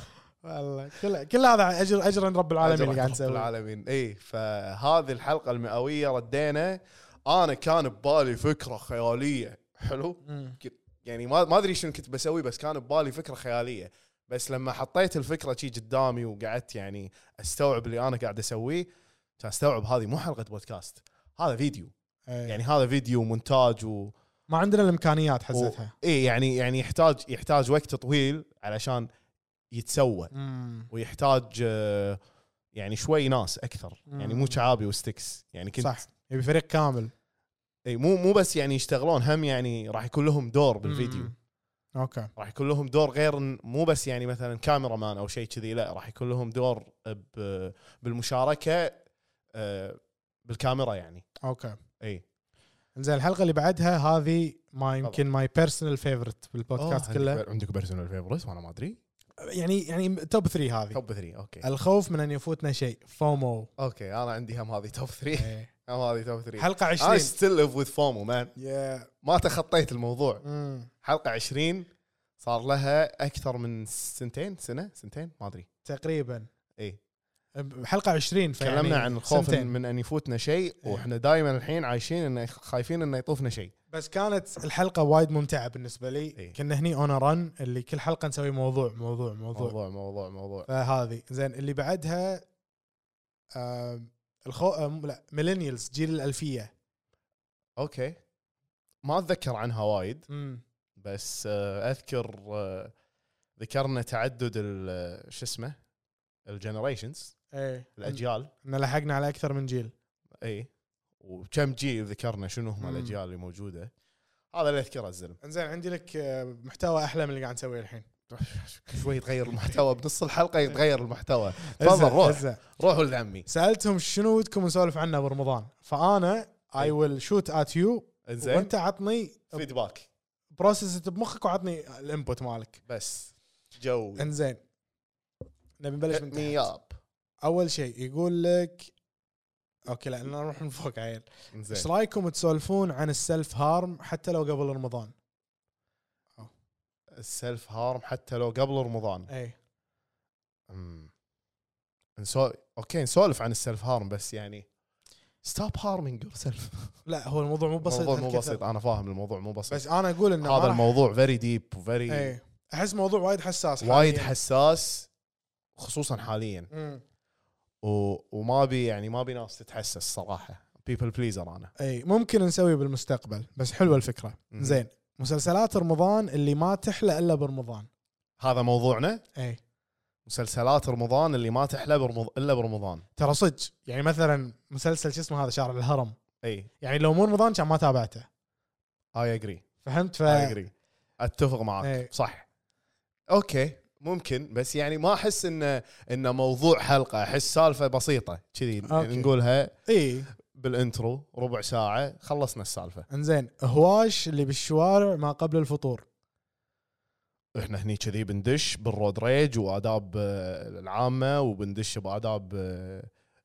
Speaker 3: والله كل كل هذا اجر اجر عند رب العالمين اللي قاعد
Speaker 4: أجر رب
Speaker 3: نسويه
Speaker 4: العالمين اي فهذه الحلقه المئويه ردينا انا كان ببالي فكره خياليه حلو
Speaker 3: مم.
Speaker 4: يعني ما ما ادري شنو كنت بسوي بس كان ببالي فكره خياليه بس لما حطيت الفكره شي قدامي وقعدت يعني استوعب اللي انا قاعد اسويه كان استوعب هذه مو حلقه بودكاست هذا فيديو
Speaker 3: إيه.
Speaker 4: يعني هذا فيديو ومونتاج و...
Speaker 3: ما عندنا الامكانيات
Speaker 4: و...
Speaker 3: حسيتها
Speaker 4: اي يعني يعني يحتاج يحتاج وقت طويل علشان يتسوى
Speaker 3: مم.
Speaker 4: ويحتاج آه، يعني شوي ناس اكثر يعني مو
Speaker 3: مم.
Speaker 4: شعابي وستكس يعني كنت
Speaker 3: صح يبي فريق كامل
Speaker 4: اي مو مو بس يعني يشتغلون هم يعني راح يكون لهم دور بالفيديو
Speaker 3: مم. اوكي
Speaker 4: راح يكون لهم دور غير إن- مو بس يعني مثلا كاميرا مان او شيء كذي لا راح يكون لهم دور ب- بالمشاركه آه، بالكاميرا يعني
Speaker 3: اوكي
Speaker 4: اي
Speaker 3: زين الحلقه اللي بعدها هذه ما يمكن ماي بيرسونال فيفورت بالبودكاست كله
Speaker 4: عندك بيرسونال فيفورت وانا ما ادري
Speaker 3: يعني يعني توب 3 هذه
Speaker 4: توب 3 اوكي
Speaker 3: الخوف من ان يفوتنا شيء فومو
Speaker 4: اوكي انا عندي هم هذه توب 3 هم هذه توب 3
Speaker 3: حلقه
Speaker 4: انا
Speaker 3: 20
Speaker 4: ستيل ليف وذ فومو مان
Speaker 3: يا
Speaker 4: ما تخطيت الموضوع
Speaker 3: مم.
Speaker 4: حلقه 20 صار لها اكثر من سنتين سنه سنتين ما ادري
Speaker 3: تقريبا
Speaker 4: اي
Speaker 3: حلقه 20 فيعني
Speaker 4: تكلمنا عن الخوف
Speaker 3: يعني سنتين. إيه.
Speaker 4: من ان يفوتنا شيء واحنا دائما الحين عايشين انه خايفين انه يطوفنا شيء
Speaker 3: بس كانت الحلقه وايد ممتعه بالنسبه لي
Speaker 4: إيه.
Speaker 3: كنا هني اون رن اللي كل حلقه نسوي موضوع موضوع موضوع, موضوع.
Speaker 4: موضوع موضوع موضوع
Speaker 3: فهذه زين اللي بعدها آم، الخو آم، لا ميلينيالز جيل الالفيه
Speaker 4: اوكي ما اتذكر عنها وايد
Speaker 3: امم
Speaker 4: بس آه، اذكر آه، ذكرنا تعدد ال- شو اسمه الجنريشنز
Speaker 3: ايه
Speaker 4: الاجيال
Speaker 3: ان لحقنا على اكثر من جيل
Speaker 4: اي إيه. وكم جيل ذكرنا شنو هم
Speaker 3: مم.
Speaker 4: الاجيال اللي موجوده هذا اللي اذكره الزلم
Speaker 3: انزين عندي لك آه، محتوى احلى من اللي قاعد نسويه الحين
Speaker 4: شوي تغير المحتوى بنص الحلقه يتغير المحتوى تفضل
Speaker 3: هزة-
Speaker 4: روح
Speaker 3: هزة.
Speaker 4: روح ولد عمي
Speaker 3: سالتهم شنو ودكم نسولف عنه برمضان فانا
Speaker 4: إيه.
Speaker 3: اي ويل شوت ات يو
Speaker 4: انزين
Speaker 3: وانت عطني
Speaker 4: فيدباك
Speaker 3: بروسس بمخك وعطني الانبوت مالك
Speaker 4: بس جو
Speaker 3: انزين نبي نبلش من تحت.
Speaker 4: مي اب
Speaker 3: اول شيء يقول لك اوكي لا أنا نروح من فوق عيل ايش
Speaker 4: انزين
Speaker 3: رايكم تسولفون عن السلف هارم حتى لو قبل رمضان
Speaker 4: السيلف هارم حتى لو قبل رمضان
Speaker 3: اي
Speaker 4: أمم. نسو... اوكي نسولف عن السيلف هارم بس يعني ستوب هارمينج يور سيلف
Speaker 3: لا هو الموضوع مو بسيط
Speaker 4: الموضوع مو
Speaker 3: هالكثر.
Speaker 4: بسيط انا فاهم الموضوع مو بسيط
Speaker 3: بس إيه. انا اقول انه
Speaker 4: هذا الموضوع فيري ديب وفيري
Speaker 3: اي احس موضوع وايد حساس
Speaker 4: وايد
Speaker 3: حالياً.
Speaker 4: حساس خصوصا حاليا
Speaker 3: أمم.
Speaker 4: و... وما ابي يعني ما ابي ناس تتحسس صراحه بيبل بليزر انا
Speaker 3: اي إيه. ممكن نسوي بالمستقبل بس حلوه الفكره
Speaker 4: مم.
Speaker 3: زين مسلسلات رمضان اللي ما تحلى الا برمضان إيه.
Speaker 4: هذا موضوعنا
Speaker 3: اي
Speaker 4: مسلسلات رمضان اللي ما تحلى برمض... الا برمضان
Speaker 3: ترى صدق يعني مثلا مسلسل شو اسمه هذا شارع الهرم
Speaker 4: اي
Speaker 3: يعني لو مو رمضان كان ما تابعته
Speaker 4: اي اجري
Speaker 3: فهمت ف
Speaker 4: اي اجري اتفق معك
Speaker 3: آه. إي.
Speaker 4: صح اوكي ممكن بس يعني ما احس انه انه موضوع حلقه احس سالفه بسيطه كذي
Speaker 3: أوكي.
Speaker 4: نقولها
Speaker 3: اي
Speaker 4: بالانترو ربع ساعه خلصنا السالفه
Speaker 3: انزين هواش اللي بالشوارع ما قبل الفطور
Speaker 4: احنا هني كذي بندش بالرود ريج واداب آه، العامه وبندش باداب آه،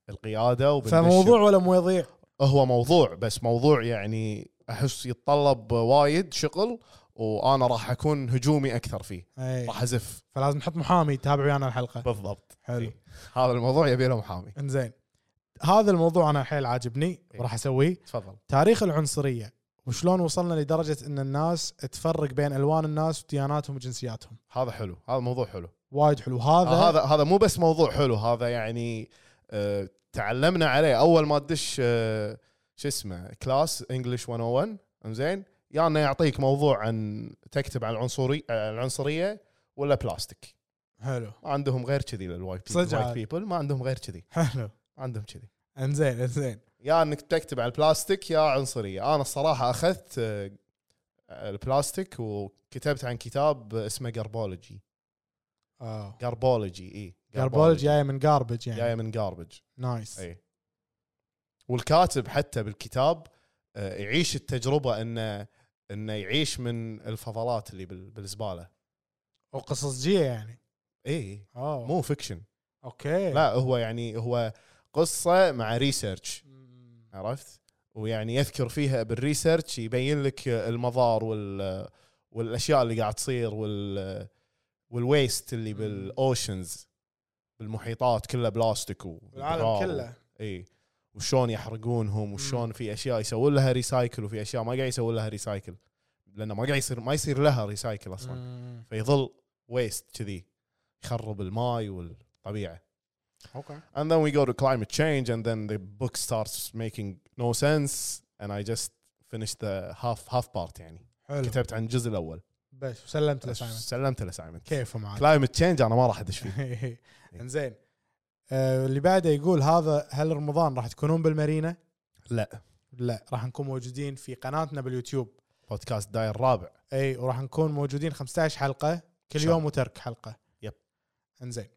Speaker 4: القياده وبندش
Speaker 3: فموضوع ولا مو يضيع
Speaker 4: هو موضوع بس موضوع يعني احس يتطلب وايد شغل وانا راح اكون هجومي اكثر فيه
Speaker 3: اي
Speaker 4: راح ازف
Speaker 3: فلازم نحط محامي يتابع ويانا الحلقه
Speaker 4: بالضبط
Speaker 3: حلو
Speaker 4: إي. هذا الموضوع يبي له محامي
Speaker 3: انزين هذا الموضوع انا حيل عاجبني
Speaker 4: إيه.
Speaker 3: وراح اسويه
Speaker 4: تفضل
Speaker 3: تاريخ العنصريه وشلون وصلنا لدرجه ان الناس تفرق بين الوان الناس ودياناتهم وجنسياتهم
Speaker 4: هذا حلو هذا موضوع حلو
Speaker 3: وايد حلو هذا
Speaker 4: آه، هذا هذا مو بس موضوع حلو هذا يعني آه، تعلمنا عليه اول ما تدش آه، شو اسمه كلاس انجلش 101 زين يا انه يعطيك موضوع عن تكتب عن العنصري آه، العنصريه ولا بلاستيك
Speaker 3: حلو
Speaker 4: ما عندهم غير كذي للوايت
Speaker 3: صدق عاد.
Speaker 4: بيبل ما عندهم غير كذي
Speaker 3: حلو
Speaker 4: ما عندهم كذي
Speaker 3: انزين انزين
Speaker 4: يا انك تكتب على البلاستيك يا عنصريه انا الصراحه اخذت آه، البلاستيك وكتبت عن كتاب اسمه جربولوجي
Speaker 3: اه
Speaker 4: جربولوجي اي
Speaker 3: جاربولج جايه من جاربج يعني
Speaker 4: جايه إيه. من جاربج
Speaker 3: نايس
Speaker 4: اي والكاتب حتى بالكتاب آه، يعيش التجربه انه انه يعيش من الفضلات اللي بال- بالزباله
Speaker 3: وقصصجيه يعني
Speaker 4: اي
Speaker 3: اه
Speaker 4: إيه، مو فيكشن
Speaker 3: اوكي
Speaker 4: لا هو يعني هو قصه مع ريسيرش
Speaker 3: مم.
Speaker 4: عرفت ويعني يذكر فيها بالريسيرش يبين لك المضار وال والاشياء اللي قاعد تصير وال والويست اللي بالاوشنز بالمحيطات كلها بلاستيك و
Speaker 3: العالم كله
Speaker 4: اي وشلون يحرقونهم وشلون في اشياء يسوون لها ريسايكل وفي اشياء ما قاعد يسوون لها ريسايكل لانه ما قاعد يصير ما يصير لها ريسايكل اصلا م.
Speaker 3: مم.
Speaker 4: فيظل ويست كذي يخرب الماي والطبيعه
Speaker 3: اوكي
Speaker 4: and then we go to climate change and then the book starts making no sense and I just finished the half half part يعني
Speaker 3: حلو
Speaker 4: كتبت عن الجزء الاول
Speaker 3: بس وسلمت له سايمون
Speaker 4: سلمت له سايمون
Speaker 3: كيفه معك
Speaker 4: كلايمت تشينج انا ما راح ادش فيه
Speaker 3: انزين إيه. آه، اللي بعده يقول هذا هل رمضان راح تكونون بالمارينا؟
Speaker 4: لا
Speaker 3: لا راح نكون موجودين في قناتنا باليوتيوب
Speaker 4: بودكاست داير الرابع
Speaker 3: اي وراح نكون موجودين 15 حلقه كل
Speaker 4: شاء
Speaker 3: يوم وترك حلقه
Speaker 4: يب.
Speaker 3: انزين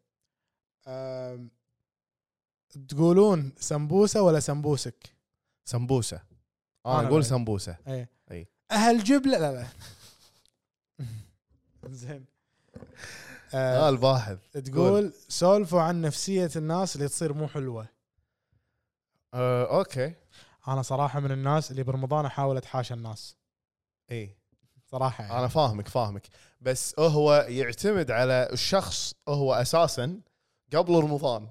Speaker 3: آم، تقولون سمبوسه ولا سمبوسك؟
Speaker 4: سمبوسه انا
Speaker 3: أنا
Speaker 4: اقول
Speaker 3: بعد.
Speaker 4: سمبوسه
Speaker 3: اي
Speaker 4: إي.
Speaker 3: اهل جبله لا لا انزين آه،
Speaker 4: اه الباحث
Speaker 3: تقول سولفوا عن نفسيه الناس اللي تصير مو حلوه
Speaker 4: آه، اوكي
Speaker 3: انا صراحه من الناس اللي برمضان احاول اتحاشى الناس
Speaker 4: اي
Speaker 3: صراحه يعني.
Speaker 4: انا فاهمك فاهمك بس هو يعتمد على الشخص هو اساسا قبل رمضان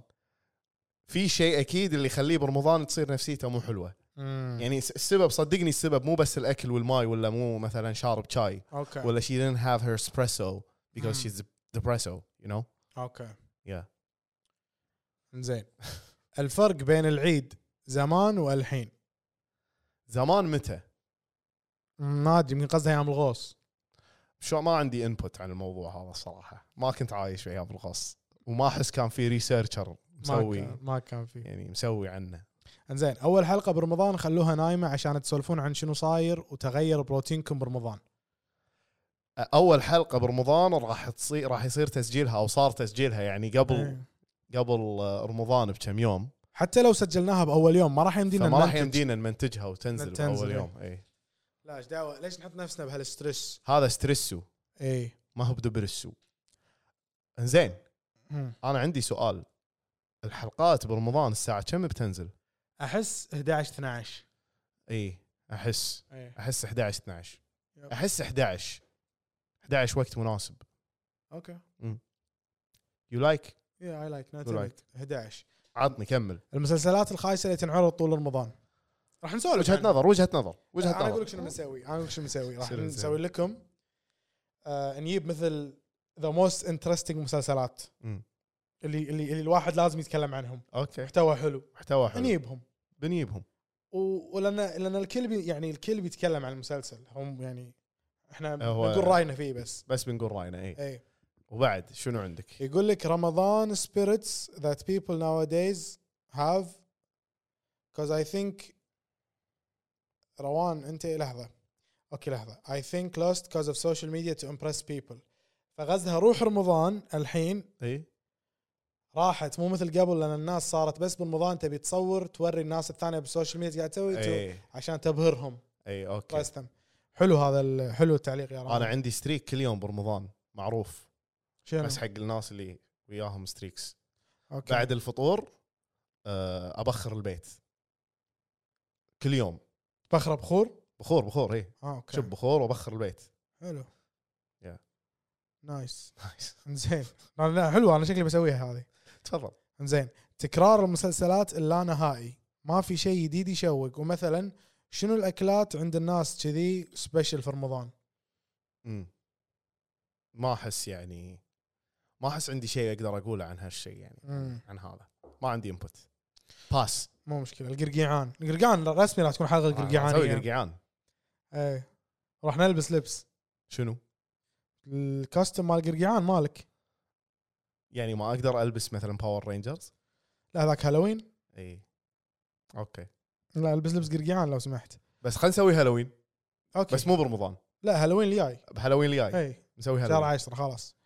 Speaker 4: في شيء اكيد اللي يخليه برمضان تصير نفسيته مو حلوه
Speaker 3: مم.
Speaker 4: يعني س- السبب صدقني السبب مو بس الاكل والماي ولا مو مثلا شارب شاي
Speaker 3: اوكي
Speaker 4: ولا she didn't have her espresso because
Speaker 3: Mm.
Speaker 4: she's depresso you know
Speaker 3: اوكي
Speaker 4: Yeah.
Speaker 3: زين الفرق بين العيد زمان والحين
Speaker 4: زمان متى
Speaker 3: مم، ما ادري يمكن قصدها ايام الغوص
Speaker 4: شو ما عندي انبوت عن الموضوع هذا الصراحه ما كنت عايش في ايام الغص وما احس كان في ريسيرشر
Speaker 3: ما
Speaker 4: مسوي
Speaker 3: كان, ما كان في
Speaker 4: يعني مسوي عنه
Speaker 3: انزين اول حلقه برمضان خلوها نايمه عشان تسولفون عن شنو صاير وتغير بروتينكم برمضان
Speaker 4: اول حلقه برمضان راح تصير راح يصير تسجيلها او صار تسجيلها يعني قبل
Speaker 3: إيه.
Speaker 4: قبل آه، رمضان بكم يوم
Speaker 3: حتى لو سجلناها باول يوم ما راح يمدينا
Speaker 4: فما راح
Speaker 3: ننتج.
Speaker 4: يمدينا نمنتجها وتنزل
Speaker 3: تنزل،
Speaker 4: باول
Speaker 3: إيه.
Speaker 4: يوم اي
Speaker 3: لا ايش دعوه ليش نحط نفسنا بهالستريس إيه.
Speaker 4: هذا ستريسو
Speaker 3: اي
Speaker 4: ما هو بدبرسو زين
Speaker 3: مم.
Speaker 4: انا عندي سؤال الحلقات برمضان الساعه كم بتنزل
Speaker 3: احس 11 12
Speaker 4: اي احس
Speaker 3: اي
Speaker 4: احس 11 12
Speaker 3: يب.
Speaker 4: احس 11 11 وقت مناسب
Speaker 3: اوكي
Speaker 4: يو لايك
Speaker 3: يا اي لايك
Speaker 4: You
Speaker 3: 11
Speaker 4: عطني كمل
Speaker 3: المسلسلات الخايسه اللي تنعرض طول رمضان راح نسولف
Speaker 4: وجهه
Speaker 3: عنها.
Speaker 4: نظر وجهه نظر وجهه نظر
Speaker 3: انا اقول لك شنو بنسوي انا اقول لك شنو بنسوي راح
Speaker 4: سلم، سلم.
Speaker 3: نسوي لكم آه نجيب مثل ذا موست انترستنج مسلسلات
Speaker 4: مم.
Speaker 3: اللي اللي, اللي الواحد لازم يتكلم عنهم
Speaker 4: اوكي
Speaker 3: محتوى حلو
Speaker 4: محتوى حلو
Speaker 3: نجيبهم
Speaker 4: بنجيبهم
Speaker 3: و- ولان لان الكل بي يعني الكل بيتكلم عن المسلسل هم يعني احنا
Speaker 4: هو-
Speaker 3: نقول راينا فيه بس إيه.
Speaker 4: بس بنقول راينا اي
Speaker 3: اي
Speaker 4: وبعد شنو عندك؟
Speaker 3: يقول لك رمضان spirits that people nowadays have because I think روان انت إيه لحظه اوكي لحظه I think lost because of social media to impress people فغزها روح رمضان الحين
Speaker 4: اي
Speaker 3: راحت مو مثل قبل لان الناس صارت بس برمضان تبي تصور توري الناس الثانيه بالسوشيال ميديا قاعد تسوي تو-
Speaker 4: اي
Speaker 3: عشان تبهرهم
Speaker 4: اي اوكي
Speaker 3: راستم حلو هذا ال- حلو التعليق يا رامي
Speaker 4: انا عندي ستريك كل يوم برمضان معروف
Speaker 3: شنو؟
Speaker 4: بس حق الناس اللي وياهم ستريكس
Speaker 3: اوكي
Speaker 4: بعد الفطور آه، ابخر البيت كل يوم
Speaker 3: بخره بخور
Speaker 4: بخور بخور اي
Speaker 3: اه اوكي
Speaker 4: شب بخور وابخر البيت
Speaker 3: حلو
Speaker 4: Yeah.
Speaker 3: نايس
Speaker 4: نايس
Speaker 3: زين لا لا حلوه انا شكلي بسويها هذه
Speaker 4: تفضل
Speaker 3: زين تكرار المسلسلات اللانهائي ما في شيء جديد يشوق ومثلا شنو الاكلات عند الناس كذي سبيشل في رمضان
Speaker 4: مم. ما احس يعني ما احس عندي شيء اقدر اقوله عن هالشيء يعني
Speaker 3: مم.
Speaker 4: عن هذا ما عندي انبوت باس
Speaker 3: مو مشكله القرقيعان القرقيعان رسمي راح تكون حلقه
Speaker 4: آه، اسوي
Speaker 3: القرقيعان
Speaker 4: قرقيعان
Speaker 3: ايه راح نلبس لبس
Speaker 4: شنو؟
Speaker 3: الكاستم مال القرقيعان مالك
Speaker 4: يعني ما اقدر البس مثلا باور رينجرز
Speaker 3: لا ذاك هالوين
Speaker 4: اي اوكي
Speaker 3: لا البس لبس قرقيعان لو سمحت
Speaker 4: بس خلينا نسوي هالوين
Speaker 3: اوكي
Speaker 4: بس مو برمضان
Speaker 3: لا هالوين الجاي
Speaker 4: بهالوين الجاي
Speaker 3: اي
Speaker 4: نسوي
Speaker 3: شهر
Speaker 4: هالوين
Speaker 3: 10 خلاص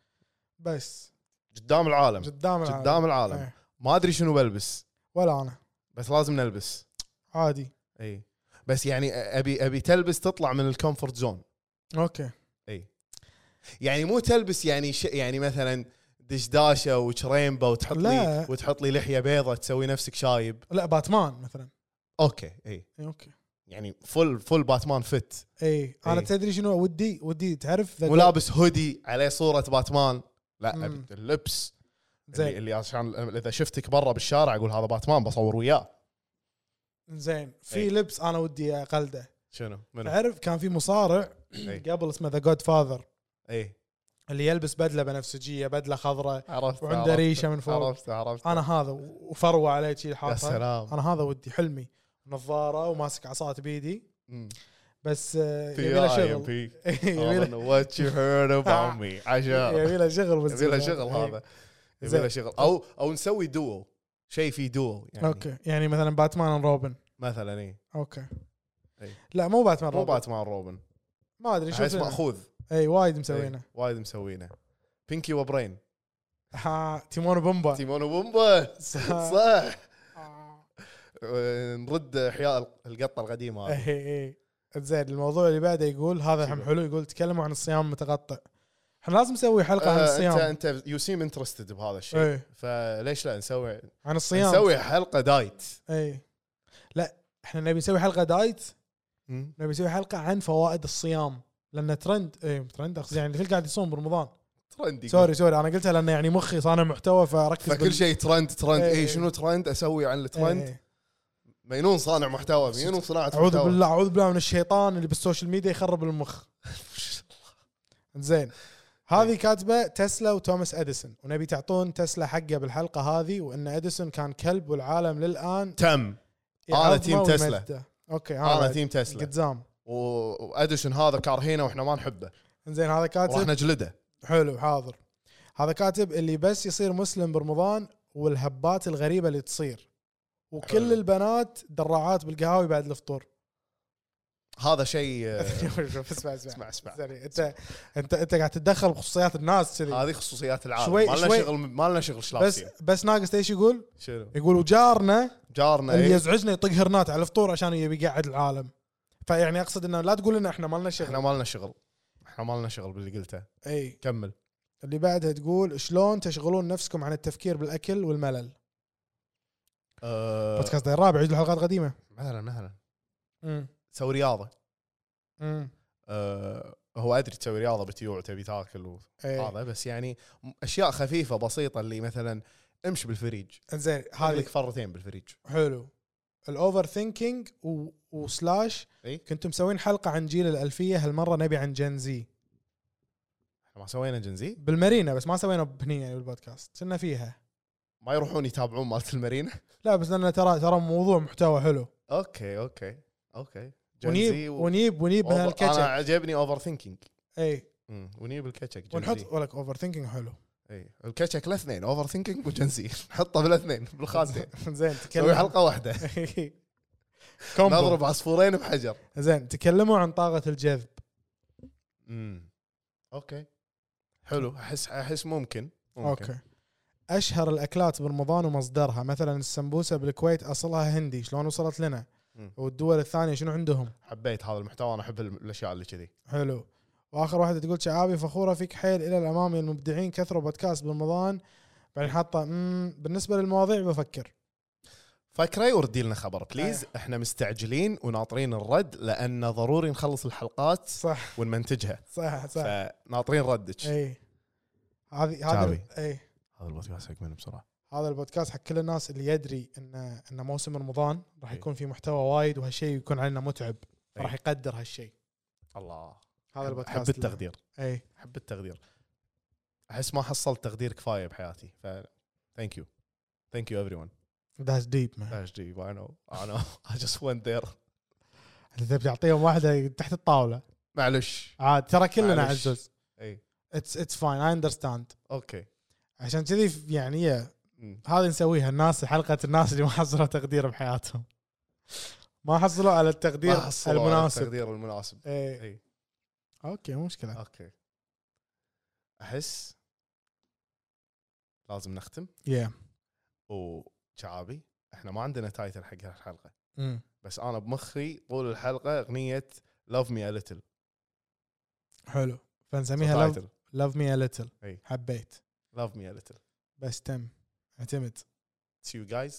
Speaker 3: بس
Speaker 4: قدام العالم
Speaker 3: قدام العالم.
Speaker 4: قدام العالم
Speaker 3: إيه.
Speaker 4: ما ادري شنو بلبس
Speaker 3: ولا انا
Speaker 4: بس لازم نلبس
Speaker 3: عادي
Speaker 4: اي بس يعني ابي ابي تلبس تطلع من الكومفورت زون
Speaker 3: اوكي
Speaker 4: اي يعني مو تلبس يعني ش... يعني مثلا دشداشه وشريمبا وتحط لي
Speaker 3: لا.
Speaker 4: وتحط لي لحيه بيضة تسوي نفسك شايب
Speaker 3: لا باتمان مثلا
Speaker 4: اوكي اي
Speaker 3: اي اوكي
Speaker 4: يعني فل فل باتمان فت
Speaker 3: اي انا
Speaker 4: إي.
Speaker 3: إيه، تدري شنو ودي ودي تعرف ذا
Speaker 4: مو لابس هودي عليه صوره باتمان لا
Speaker 3: مم.
Speaker 4: ابي اللبس اللي,
Speaker 3: زين
Speaker 4: اللي عشان اذا شفتك برا بالشارع اقول هذا باتمان بصور وياه
Speaker 3: زين في
Speaker 4: إي.
Speaker 3: لبس انا ودي اقلده
Speaker 4: شنو منو
Speaker 3: تعرف كان في مصارع
Speaker 4: إي.
Speaker 3: قبل اسمه ذا جود فاذر
Speaker 4: اي
Speaker 3: اللي يلبس بدله بنفسجيه بدله خضراء
Speaker 4: عرفت
Speaker 3: وعنده
Speaker 4: عرفت،
Speaker 3: ريشة من فوق. طيب.
Speaker 4: عرفت عرفت
Speaker 3: انا هذا وفروه عليه شي
Speaker 4: يا
Speaker 3: حاطه
Speaker 4: سلام
Speaker 3: انا هذا ودي حلمي نظاره وماسك عصات بيدي
Speaker 4: مم.
Speaker 3: بس آه،
Speaker 4: في
Speaker 3: يبي له
Speaker 4: آي إم
Speaker 3: شغل
Speaker 4: بي.
Speaker 3: يبي
Speaker 4: I don't
Speaker 3: له- آه.
Speaker 4: know what you heard about me عشان
Speaker 3: يبي له شغل إيه. بس
Speaker 4: يبي له شغل هذا يبي له
Speaker 3: زين.
Speaker 4: شغل او او نسوي دوو شيء في دوو يعني
Speaker 3: اوكي يعني مثلا باتمان أند روبن
Speaker 4: مثلا اي
Speaker 3: اوكي
Speaker 4: إي.
Speaker 3: لا مو باتمان
Speaker 4: إيه. مو
Speaker 3: روبن
Speaker 4: باتمان روبن
Speaker 3: ما ادري
Speaker 4: احس
Speaker 3: شو
Speaker 4: ماخوذ
Speaker 3: اي وايد
Speaker 4: إي،
Speaker 3: مسوينه
Speaker 4: وايد مسوينه بينكي وبرين
Speaker 3: ها تيمون وبومبا
Speaker 4: تيمون وبومبا
Speaker 3: صح. آه.
Speaker 4: صح نرد احياء الق- القطه القديمه
Speaker 3: إيه.
Speaker 4: هذه
Speaker 3: اي اي زين الموضوع اللي بعده يقول هذا هم حلو يقول تكلموا عن الصيام المتقطع احنا لازم نسوي حلقه عن
Speaker 4: آه،
Speaker 3: الصيام
Speaker 4: انت انت يو سيم انترستد بهذا الشيء
Speaker 3: اي
Speaker 4: فليش لا نسوي
Speaker 3: عن الصيام
Speaker 4: نسوي حلقه دايت
Speaker 3: اي لا احنا نبي نسوي حلقه دايت
Speaker 4: مم.
Speaker 3: نبي نسوي حلقه عن فوائد الصيام لان ترند اي ترند اقصد يعني الكل قاعد يصوم برمضان
Speaker 4: ترندي
Speaker 3: سوري سوري انا قلتها لان يعني مخي صانع محتوى فركز
Speaker 4: فكل شيء ترند ترند
Speaker 3: إيه.
Speaker 4: اي شنو ترند اسوي عن الترند
Speaker 3: ترند
Speaker 4: مينون صانع محتوى مينون صناعه
Speaker 3: اعوذ
Speaker 4: محتوى.
Speaker 3: بالله اعوذ بالله من الشيطان اللي بالسوشيال ميديا يخرب المخ زين
Speaker 4: إيه.
Speaker 3: هذه كاتبه تسلا وتوماس اديسون ونبي تعطون تسلا حقه بالحلقه هذه وان اديسون كان كلب والعالم للان
Speaker 4: تم
Speaker 3: يعظمه
Speaker 4: تيم تسلا.
Speaker 3: ويمجده. اوكي
Speaker 4: انا تيم تسلا
Speaker 3: قدام
Speaker 4: و- واديشن هذا كارهينه واحنا ما نحبه
Speaker 3: زين هذا
Speaker 4: راح
Speaker 3: كاتب
Speaker 4: نجلده
Speaker 3: حلو حاضر هذا كاتب اللي بس يصير مسلم برمضان والهبات الغريبه اللي تصير وكل
Speaker 4: حلو.
Speaker 3: البنات دراعات بالقهاوي بعد الفطور
Speaker 4: هذا شيء آه،
Speaker 3: شوف شوف اسمع اسمع
Speaker 4: اسمع اسمع
Speaker 3: زين، يعني انت انت انت قاعد تتدخل بخصوصيات الناس كذي
Speaker 4: هذه خصوصيات العالم
Speaker 3: شوي-
Speaker 4: ما لنا
Speaker 3: شوي.
Speaker 4: شغل ما لنا شغل
Speaker 3: بس
Speaker 4: شلاسيه
Speaker 3: بس ناقص ايش يقول؟
Speaker 4: شنو
Speaker 3: يقول وجارنا
Speaker 4: جارنا
Speaker 3: اللي
Speaker 4: إيه؟
Speaker 3: يزعجنا يطق هرنات على الفطور عشان يبي يقعد العالم فيعني اقصد انه لا تقول لنا احنا ما لنا
Speaker 4: احنا
Speaker 3: شغل
Speaker 4: ما لنا شغل احنا ما لنا شغل باللي قلته
Speaker 3: اي
Speaker 4: كمل
Speaker 3: اللي بعدها تقول شلون تشغلون نفسكم عن التفكير بالاكل والملل
Speaker 4: أه
Speaker 3: بودكاست داير الرابع عيد الحلقات القديمه
Speaker 4: مثلا مثلا
Speaker 3: امم
Speaker 4: سوي رياضه
Speaker 3: امم
Speaker 4: أه هو ادري تسوي رياضه بتيوع تبي تاكل
Speaker 3: اي
Speaker 4: وهذا بس يعني م- اشياء خفيفه بسيطه اللي مثلا امشي بالفريج
Speaker 3: زين
Speaker 4: هذه
Speaker 3: هذه
Speaker 4: لك فرتين بالفريج
Speaker 3: حلو الاوفر ثينكينج وسلاش
Speaker 4: إي.
Speaker 3: كنتم مسوين حلقه عن جيل الالفيه هالمره نبي عن جنزي
Speaker 4: احنا ما سوينا جنزي
Speaker 3: بالمارينا بس ما سوينا هنا يعني بالبودكاست كنا فيها
Speaker 4: ما يروحون يتابعون مالت المارينا
Speaker 3: لا بس لان ترى ترى موضوع محتوى حلو
Speaker 4: اوكي اوكي اوكي Gen Z
Speaker 3: ونيب
Speaker 4: و-
Speaker 3: ونيب ونيب
Speaker 4: أوفر- انا
Speaker 3: هالكتشك
Speaker 4: عجبني اوفر ثينكينج
Speaker 3: اي
Speaker 4: ونجيب الكتشك Gen Z.
Speaker 3: ونحط ولك اوفر ثينكينج حلو
Speaker 4: اي الكتشك الاثنين اوفر ثينكينج وجنسي نحطه بالاثنين بالخانتين
Speaker 3: زين
Speaker 4: نسوي
Speaker 3: تكلم
Speaker 4: حلقه واحده
Speaker 3: كومبو.
Speaker 4: نضرب عصفورين بحجر
Speaker 3: زين تكلموا عن طاقه الجذب
Speaker 4: امم اوكي حلو احس احس ممكن ممكن.
Speaker 3: اوكي اشهر الاكلات برمضان ومصدرها مثلا السمبوسه بالكويت اصلها هندي شلون وصلت لنا
Speaker 4: مم.
Speaker 3: والدول الثانيه شنو عندهم
Speaker 4: حبيت هذا المحتوى انا احب الم- الاشياء اللي كذي
Speaker 3: حلو واخر واحده تقول شعابي فخوره فيك حيل الى الامام يا المبدعين كثروا بودكاست برمضان بعدين حاطه امم بالنسبه للمواضيع بفكر
Speaker 4: فكري وردي لنا خبر
Speaker 3: إيه.
Speaker 4: بليز احنا مستعجلين وناطرين الرد لان ضروري نخلص الحلقات
Speaker 3: صح
Speaker 4: ونمنتجها
Speaker 3: صح صح إيه.
Speaker 4: فناطرين ردك هذا
Speaker 3: اي هذه
Speaker 4: شعبي.
Speaker 3: هذا اي
Speaker 4: البودكاست حق من بسرعه
Speaker 3: هذا البودكاست حق كل الناس اللي يدري ان ان موسم رمضان راح
Speaker 4: إيه.
Speaker 3: يكون في محتوى وايد وهالشيء يكون علينا متعب
Speaker 4: إي.
Speaker 3: راح يقدر هالشيء
Speaker 4: الله
Speaker 3: هذا البودكاست إيه.
Speaker 4: احب التقدير
Speaker 3: اي
Speaker 4: احب التقدير احس ما حصلت تقدير كفايه بحياتي ف ثانك يو ثانك يو ايفري ون
Speaker 3: ذاتس ديب مان
Speaker 4: اي نو اي نو اي جاست ونت ذير
Speaker 3: انت تبي تعطيهم واحده تحت الطاوله
Speaker 4: معلش
Speaker 3: عاد ترى كلنا
Speaker 4: معلش. إيه.
Speaker 3: عزوز
Speaker 4: اي
Speaker 3: اتس اتس فاين اي اندرستاند
Speaker 4: اوكي
Speaker 3: عشان كذي يعني يا،
Speaker 4: مم.
Speaker 3: هذه نسويها الناس حلقه الناس اللي ما حصلوا تقدير بحياتهم ما حصلوا على التقدير
Speaker 4: ما حصلوا على
Speaker 3: المناسب
Speaker 4: التقدير إيه. المناسب
Speaker 3: اي
Speaker 4: اي
Speaker 3: اوكي مو مشكله
Speaker 4: اوكي احس لازم نختم
Speaker 3: يا
Speaker 4: وشعابي احنا ما عندنا تايتل حق الحلقه
Speaker 3: أمم.
Speaker 4: بس انا بمخي طول الحلقه اغنيه لاف مي ا ليتل
Speaker 3: حلو فنسميها لاف لاف مي ليتل
Speaker 4: إي.
Speaker 3: حبيت
Speaker 4: لاف مي ا ليتل
Speaker 3: بس تم اعتمد
Speaker 4: see you guys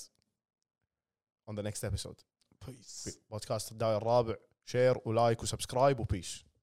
Speaker 4: on the next episode
Speaker 3: بيس
Speaker 4: بودكاست الداير الرابع شير ولايك وسبسكرايب وبيس